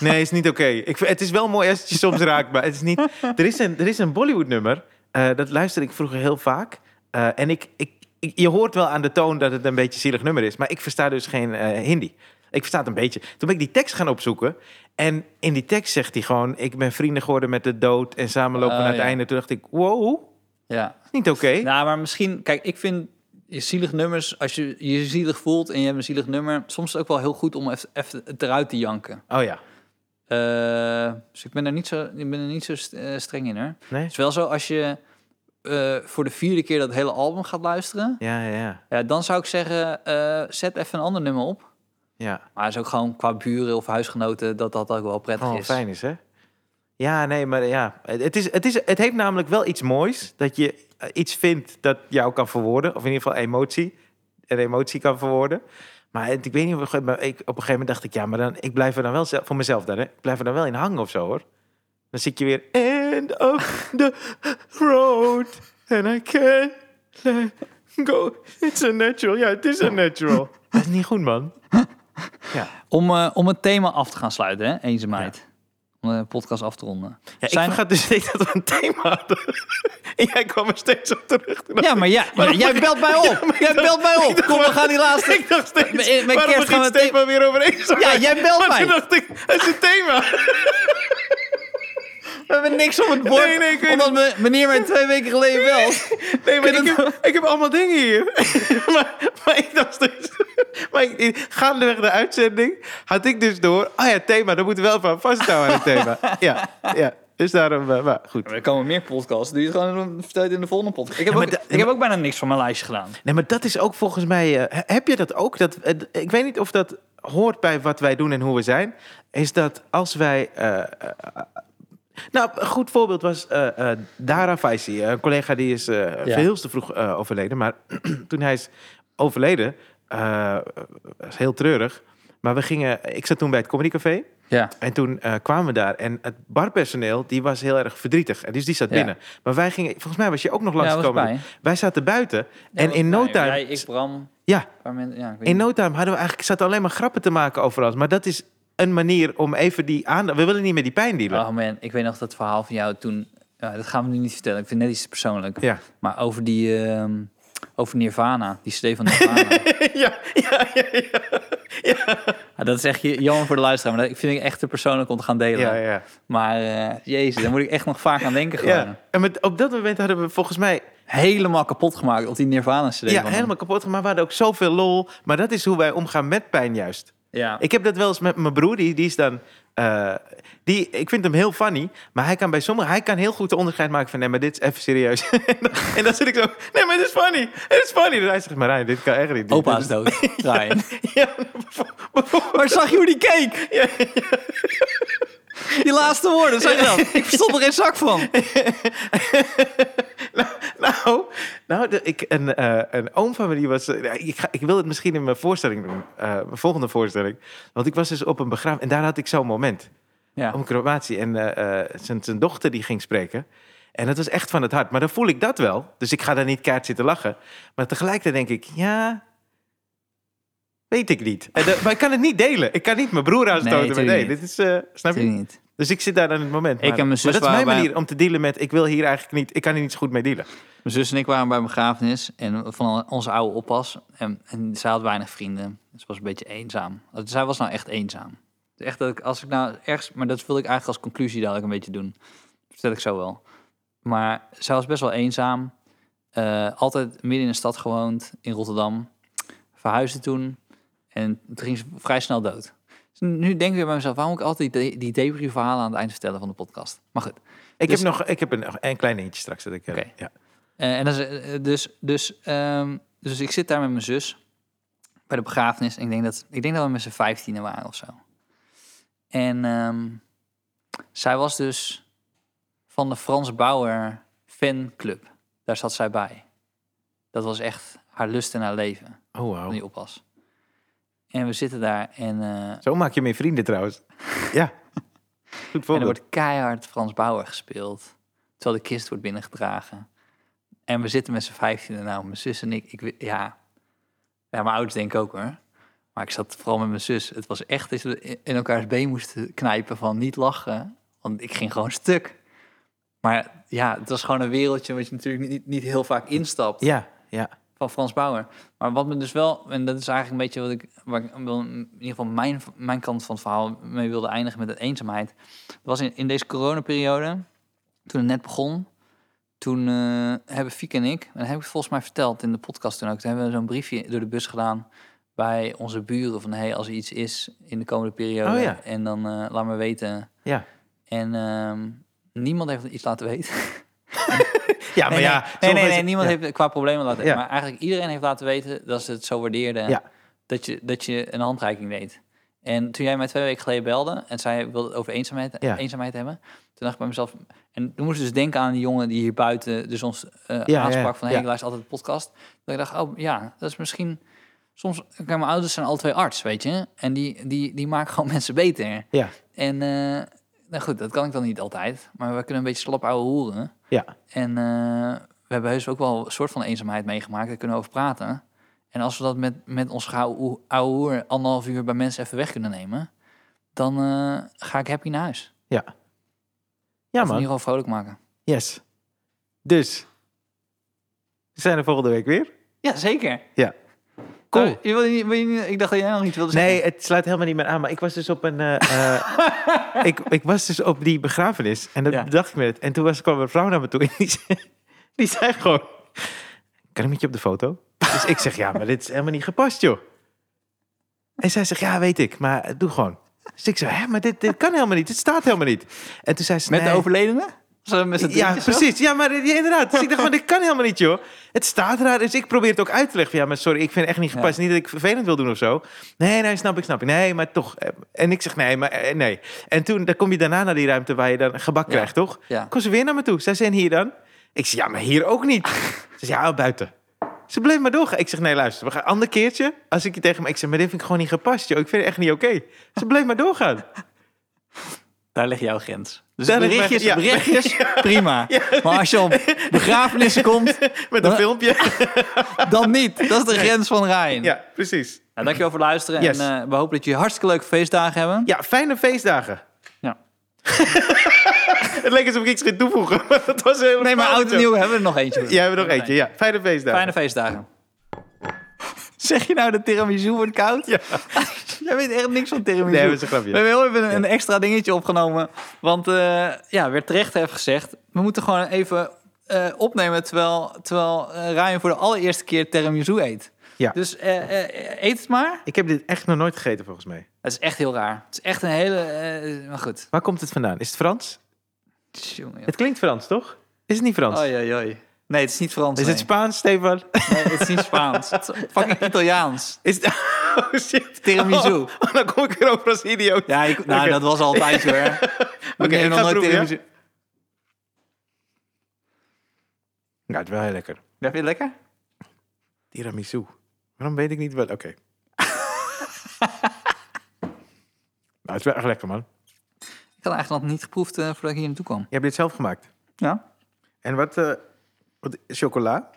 S1: nee, is niet oké. Ik vind- Het is wel mooi als het je soms raakt, maar het is niet... Er is een, er is een Bollywood nummer, eh, dat luisterde ik vroeger heel vaak. Eh, en ik, ik, ik- je hoort wel aan de toon dat het een beetje een zielig nummer is, maar ik versta dus geen eh, Hindi. Ik versta het een beetje. Toen ben ik die tekst gaan opzoeken. En in die tekst zegt hij gewoon... ik ben vrienden geworden met de dood en samen lopen
S2: Oh,
S1: we naar het
S2: ja.
S1: einde. Toen dacht ik, wow,
S2: Ja.
S1: is niet oké.
S2: Nou, maar misschien, kijk, ik vind je zielig nummers, als je je zielig voelt en je hebt een zielig nummer, soms is het ook wel heel goed om even- even het eruit te janken.
S1: Oh ja,
S2: Eh, dus ik ben er niet zo, ik ben er niet zo st- eh, streng in hoor.
S1: nee?
S2: Het is wel zo, als je eh, voor de vierde keer dat hele album gaat luisteren,
S1: Ja, ja, ja.
S2: ja, dan zou ik zeggen, eh, zet even een ander nummer op.
S1: ja.
S2: Maar het is ook gewoon qua buren of huisgenoten dat dat ook wel prettig
S1: Oh,
S2: is.
S1: fijn is, hè? Ja, nee, maar ja. Het, is, het, is, het heeft namelijk wel iets moois. Dat je eh, iets vindt dat jou kan verwoorden. Of in ieder geval emotie. Een emotie kan verwoorden. Maar het- ik weet niet, of ik- maar ik, op een gegeven moment dacht ik... Ja, maar dan, ik blijf er dan wel zelf, voor mezelf dan, hè? Ik blijf er dan wel in hangen of zo, hoor. Dan zit je weer... End of the road. And I can't let go. It's a natural. Ja, het is een natural. Dat is niet goed, man. Ja.
S2: Om, eh, om het thema af te gaan sluiten, hè, eenzaamheid. Om de podcast af te ronden.
S1: Ja, Ik
S2: Zijn-
S1: vergat dus steeds dat we een thema hadden. En jij kwam er steeds op terug. Toen
S2: Ja,
S1: dacht
S2: maar,
S1: ik-
S2: ja,
S1: waarom-
S2: jij belt mij op. jij belt mij op. Kom, we gaan die laatste.
S1: Ik dacht steeds,
S2: Mijn- mijn
S1: waarom
S2: kerst gaan
S1: begint
S2: we
S1: het thema
S2: thema-
S1: weer over eenzaamheid?
S2: Ja, jij belt
S1: Maar
S2: mij.
S1: toen dacht ik, het is een thema.
S2: We hebben niks op het bord.
S1: Nee, nee, ik weet
S2: omdat me- meneer mij twee weken geleden belt.
S1: Nee, maar
S2: Kun
S1: ik
S2: je
S1: heb, ik heb allemaal dingen hier. maar, maar ik dacht steeds... Maar ik, ik- gaandeweg de uitzending had ik dus door... Ah ja, thema, daar moeten we wel van vasthouden aan het thema. Ja, ja. Dus daarom, eh, maar goed.
S2: Er komen meer podcasts. Doe je het gewoon verteld in de volgende podcast. Ik heb,
S1: Ja, maar
S2: ook,
S1: da-
S2: ik heb ook bijna niks van mijn lijstje gedaan.
S1: Nee, maar dat is ook volgens mij. eh, he- heb je dat ook? Dat, eh, d- ik weet niet of dat hoort bij wat wij doen en hoe we zijn. Is dat als wij. eh, eh, eh, nou, een goed voorbeeld was eh, eh, Dara Faisi, een collega die is eh veel te vroeg eh, overleden. Maar toen hij is overleden, eh, was heel treurig. Maar we gingen, ik zat toen bij het Comedy Café.
S2: Ja.
S1: En toen eh, kwamen we daar. En het barpersoneel, die was heel erg verdrietig. En dus die zat
S2: Ja.
S1: binnen. Maar wij gingen, volgens mij was je ook nog
S2: was
S1: langsgekomen.
S2: bij.
S1: wij zaten buiten. en in no time...
S2: nou Jij, ik, Bram.
S1: Ja,
S2: Een paar mensen, ja, ik weet
S1: in
S2: niet.
S1: no time hadden we eigenlijk zaten alleen maar grappen te maken over alles. Maar dat is een manier om even die aandacht. We willen niet meer die pijn dealen.
S2: Oh man, ik weet nog dat verhaal van jou toen. ja, dat gaan we nu niet vertellen. Ik vind het net iets te persoonlijk.
S1: Ja.
S2: Maar over die. ehm, over Nirvana, die CD van Nirvana. ja,
S1: ja, ja, ja, ja.
S2: dat is echt je- jammer voor de luisteraar, maar dat ik vind ik echt te persoonlijk om te gaan delen.
S1: ja, ja.
S2: Maar eh, jezus, daar moet ik echt nog vaak aan denken gewoon.
S1: ja. En met, op dat moment hadden we volgens mij
S2: Helemaal kapot gemaakt op die Nirvana CD.
S1: ja,
S2: van hem.
S1: helemaal kapot gemaakt. We hadden ook zoveel lol. Maar dat is hoe wij omgaan met pijn juist.
S2: Ja.
S1: Ik heb dat wel eens met mijn broer. Die, die is dan... eh, die, ik vind hem heel funny, maar hij kan bij sommigen... Hij kan heel goed de onderscheid maken van... Nee, maar dit is even serieus. en, dan, en dan zit ik zo... Nee, maar dit is funny. Het is funny. En hij zegt, maar Ryan, dit kan echt niet.
S2: Opa
S1: Dit
S2: is dood. Ryan.
S1: Ja, bijvoorbeeld.
S2: Maar zag je hoe die keek? Die laatste woorden, zag je dat? Ik verstond er geen zak van.
S1: Nou, nou de- ik, een, eh, een oom van me die was... eh, ik, ga, ik wil het misschien in mijn voorstelling doen. eh, mijn volgende voorstelling. Want ik was dus op een begrafenis... En daar had ik zo'n moment.
S2: Ja.
S1: Om crematie. En eh, eh, zijn, zijn dochter die ging spreken. En dat was echt van het hart. Maar dan voel ik dat wel. Dus ik ga daar niet kaart zitten lachen. Maar tegelijkertijd denk ik... Ja... Weet ik niet. En dat- maar ik kan het niet delen. Ik kan niet mijn broer aanstoten.
S2: Nee,
S1: met,
S2: tuurlijk
S1: nee,
S2: niet.
S1: dit is... eh, snap je?
S2: Natuurlijk niet.
S1: Dus ik zit daar aan het moment.
S2: Ik en mijn zus
S1: maar dat is mijn
S2: waren bij-
S1: manier om te dealen met... ik wil hier eigenlijk niet... ik kan hier niet zo goed mee dealen.
S2: Mijn zus en ik waren bij een begrafenis en van onze oude oppas. En, en zij had weinig vrienden. Ze was een beetje eenzaam. Zij was nou echt eenzaam. Dus Echt dat ik, als ik nou ergens, maar dat wil ik eigenlijk als conclusie dadelijk een beetje doen. Dat vertel ik zo wel. Maar zij was best wel eenzaam. Eh, altijd midden in de stad gewoond, in Rotterdam. Verhuisde toen. En toen ging ze vrij snel dood. Dus Nu denk ik weer bij mezelf, waarom moet ik altijd die, die debris-verhalen aan het eind vertellen van de podcast? Maar goed.
S1: Ik
S2: Dus-
S1: heb nog ik heb een, een klein eentje straks. Dat ik, eh,
S2: Oké.
S1: ja.
S2: Eh, en dat is, eh, dus, dus, ehm, dus ik zit daar met mijn zus bij de begrafenis. En ik denk dat, ik denk dat we met z'n vijftienen waren of zo. En ehm, zij was dus van de Frans Bauer fanclub. Daar zat zij bij. Dat was echt haar lust en haar leven,
S1: Oh,
S2: toen
S1: wauw.
S2: die oppas. En we zitten daar en, eh, en
S1: Zo maak je meer vrienden trouwens. ja. Goed
S2: er
S1: voorbeeld.
S2: wordt keihard Frans Bauer gespeeld. Terwijl de kist wordt binnengedragen. En we zitten met z'n vijftienen. Nou, mijn zus en ik, ik wi- ja, ja, mijn ouders denk ik ook hoor. Maar ik zat vooral met mijn zus. Het was echt dat we in elkaars been moesten knijpen van niet lachen. Want ik ging gewoon stuk. Maar ja, het was gewoon een wereldje wat je natuurlijk niet, niet heel vaak instapt
S1: Ja, ja.
S2: van Frans Bauer. Maar wat me dus wel, en dat is eigenlijk een beetje wat ik, waar ik wil- in ieder geval mijn, mijn kant van het verhaal mee wilde eindigen met de eenzaamheid. Dat was in, in deze coronaperiode, toen het net begon, toen eh, hebben Fieke en ik, en dat heb ik volgens mij verteld in de podcast toen ook, toen hebben we zo'n briefje door de bus gedaan bij onze buren van hey, als er iets is in de komende periode
S1: Oh ja.
S2: en dan eh, laat me weten.
S1: Ja.
S2: En ehm, niemand heeft iets laten weten.
S1: Ja, maar
S2: Nee,
S1: ja.
S2: nee. nee,
S1: sommige
S2: nee, nee,
S1: mensen-
S2: niemand
S1: ja.
S2: heeft qua problemen laten
S1: Ja.
S2: Maar eigenlijk iedereen heeft laten weten dat ze het zo waardeerden.
S1: Ja.
S2: Dat, je, dat je een handreiking deed. En toen jij mij twee weken geleden belde en zij wilde het over eenzaamheid,
S1: Ja.
S2: eenzaamheid hebben, toen dacht ik bij mezelf, en toen moest ik dus denken aan die jongen die hier buiten dus ons eh,
S1: ja,
S2: aansprak
S1: ja.
S2: van, hey,
S1: Ja.
S2: ik luister altijd de podcast. Dat ik dacht, oh ja, dat is misschien, soms, kijk, mijn ouders zijn alle twee arts, weet je. En die, die, die maken gewoon mensen beter.
S1: Ja,
S2: En eh, nou goed, dat kan ik dan niet altijd. Maar we kunnen een beetje slap ouwe hoeren.
S1: ja.
S2: En eh, we hebben heus ook wel een soort van eenzaamheid meegemaakt. Daar kunnen we over praten. En als we dat met, met ons gauw- ouwe hoer anderhalf uur bij mensen even weg kunnen nemen... dan eh, ga ik happy naar huis.
S1: Ja, ja
S2: Of in
S1: man.
S2: ieder geval vrolijk maken.
S1: Yes. Dus. We zijn er volgende week weer.
S2: Ja, zeker.
S1: Ja. Cool.
S2: Oh, je wilde niet, wil je niet- ik dacht dat jij nog iets wilde zeggen.
S1: Nee, het sluit helemaal niet meer aan. Maar ik was dus op een. eh, eh, ik, ik was dus op die begrafenis. En dat
S2: Ja.
S1: dacht ik me het. En toen was, kwam een vrouw naar me toe. En die zei, die zei gewoon: Kan ik met je op de foto? Dus ik zeg: Ja, maar dit is helemaal niet gepast, joh. En zij zegt: Ja, weet ik. Maar doe gewoon. Dus ik zei: Hè, maar dit, dit kan helemaal niet. Dit staat helemaal niet. En toen zei ze:
S2: Met
S1: "Nee."
S2: de overledene? Zo Met z'n
S1: Ja,
S2: drieën zo?
S1: precies. Ja, maar ja, inderdaad. Dus ik dacht, maar dit kan helemaal niet, joh. Het staat raar. Dus ik probeer het ook uit te leggen. Van, Ja, maar sorry, ik vind het echt niet gepast. Niet dat ik vervelend wil doen of zo. Nee, nee, snap ik, snap ik. Nee, maar toch. eh, En ik zeg nee, maar eh, nee. En toen dan kom je daarna naar die ruimte waar je dan gebak
S2: Ja.
S1: krijgt, toch?
S2: Ja.
S1: Kom ze weer naar me toe. Zij zijn hier dan. Ik zeg, ja, maar hier ook niet. Ze zei, ja, oh, buiten. Ze bleef maar doorgaan. Ik zeg, nee, luister, we gaan een ander keertje. Als ik je tegen me... Ik zeg, maar dit vind ik gewoon niet gepast, joh. Ik vind het echt niet oké. Ze bleef maar doorgaan.
S2: Daar ligt jouw grens. Dus
S1: Daar ligt mijn-
S2: berichtjes,
S1: ja.
S2: berichtjes, prima. Maar als je op begrafenissen komt,
S1: Met een
S2: Huh?
S1: filmpje.
S2: dan niet. Dat is de grens van Rijn.
S1: Ja, precies.
S2: Nou, dankjewel voor het luisteren.
S1: Yes.
S2: En eh, we hopen dat jullie hartstikke leuke feestdagen hebben.
S1: Ja, fijne feestdagen.
S2: Ja.
S1: Het leek alsof ik iets ging toevoegen, maar dat was helemaal
S2: Nee, maar
S1: fout,
S2: oud en
S1: joh.
S2: nieuw hebben we er nog eentje.
S1: Jij hebt er nog eentje, ja. Fijne feestdagen.
S2: Fijne feestdagen. Zeg je nou dat tiramisu wordt koud?
S1: Ja.
S2: Jij weet echt niks van tiramisu.
S1: Nee, dat is een grapje.
S2: We hebben heel even een extra dingetje opgenomen. Want eh, ja, weer terecht heeft gezegd... we moeten gewoon even eh, opnemen... terwijl, terwijl eh, Ryan voor de allereerste keer tiramisu eet.
S1: Ja.
S2: Dus eh, eh, eet het maar.
S1: Ik heb dit echt nog nooit gegeten, volgens mij.
S2: Het is echt heel raar. Het is echt een hele... eh, maar goed.
S1: Waar komt het vandaan? Is het Frans?
S2: Tjonge, joh.
S1: Het klinkt Frans, toch? Is het niet Frans?
S2: Oei, oei, oei. Nee, het is niet Frans.
S1: Is het
S2: Oh, nee.
S1: Spaans, Stefan?
S2: Nee, het is niet Spaans. Het is fucking Italiaans.
S1: Is het... Oh, shit.
S2: Tiramisu.
S1: Oh, oh, dan kom ik erover als idioot.
S2: Ja, ik, nou,
S1: Oké.
S2: dat was altijd hoor.
S1: Oké,
S2: Nee,
S1: ik
S2: nog
S1: ga het
S2: nooit
S1: proeven, ja?
S2: tiramisu. Ja?
S1: Nou, het is wel heel lekker.
S2: vind je het lekker?
S1: Tiramisu. Waarom weet ik niet wat? Oké. nou, het is wel echt lekker, man.
S2: Ik had eigenlijk nog niet geproefd eh, voordat ik hier naartoe kwam.
S1: Je hebt dit zelf gemaakt.
S2: Ja.
S1: En wat... eh, wat chocola?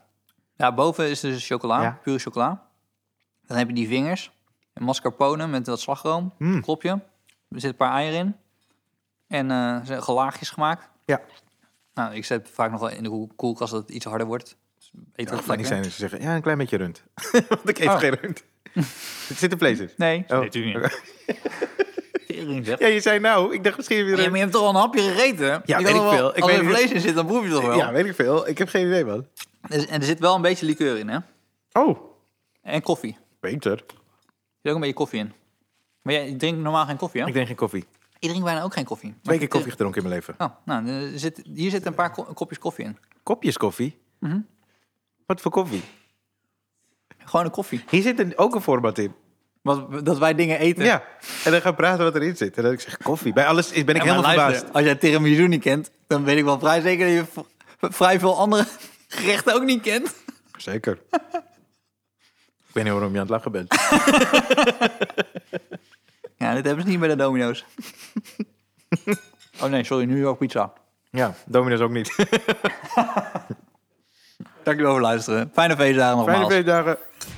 S2: Ja, boven is dus chocola,
S1: Ja.
S2: pure chocola. Dan heb je die vingers. En mascarpone met wat slagroom.
S1: Mm.
S2: Klopje. Er zit een paar eieren in. En eh, er zijn gelaagjes gemaakt.
S1: Ja.
S2: Nou, ik zet vaak nog wel in de koel- koelkast dat het iets harder wordt. Dus eet
S1: Ja, het kan
S2: ook
S1: niet
S2: lekker.
S1: zijn dat ze zeggen, ja, een klein beetje rund. Want ik eet
S2: Oh.
S1: geen rund. Het zit een vlees in.
S2: Nee.
S1: Oh.
S2: Tering, zeg.
S1: Ja, je zei nou, ik dacht misschien weer
S2: Ja, maar
S1: rund.
S2: je hebt toch al een hapje gegeten? Je kan
S1: weet
S2: toch
S1: ik
S2: wel-
S1: veel. Ik
S2: als er
S1: weet niet-
S2: vlees in zit, dan proef je toch wel?
S1: Ja, weet ik veel. Ik heb geen idee, man.
S2: Dus- En er zit wel een beetje likeur in, hè?
S1: Oh,
S2: En koffie. Er
S1: beter.
S2: zit ook een beetje koffie in. Maar jij drinkt normaal geen koffie, hè?
S1: Ik drink geen koffie.
S2: Ik drink bijna ook geen koffie. Maar
S1: Twee keer
S2: ik-
S1: koffie gedronken in mijn leven.
S2: Oh, nou, er zit, hier zitten een paar ko- kopjes koffie in.
S1: Kopjes koffie?
S2: Mhm.
S1: Wat voor koffie?
S2: Gewoon een koffie.
S1: Hier zit een, ook een format in.
S2: Wat, dat wij dingen eten.
S1: Ja. En dan gaan we praten wat erin zit. En dan ik zeg koffie. Bij alles is- ben ik
S2: Ja, maar
S1: helemaal
S2: luister,
S1: verbaasd.
S2: Als jij tiramisu niet kent, dan weet ik wel vrij zeker dat je v- vrij veel andere gerechten ook niet kent.
S1: Zeker. ik weet niet waarom je aan het lachen bent.
S2: Ja, dit hebben ze niet bij de domino's. oh nee, sorry, New York pizza.
S1: ja, Domino's ook niet.
S2: Dankjewel voor het luisteren. Fijne feestdagen nogmaals.
S1: Fijne feestdagen.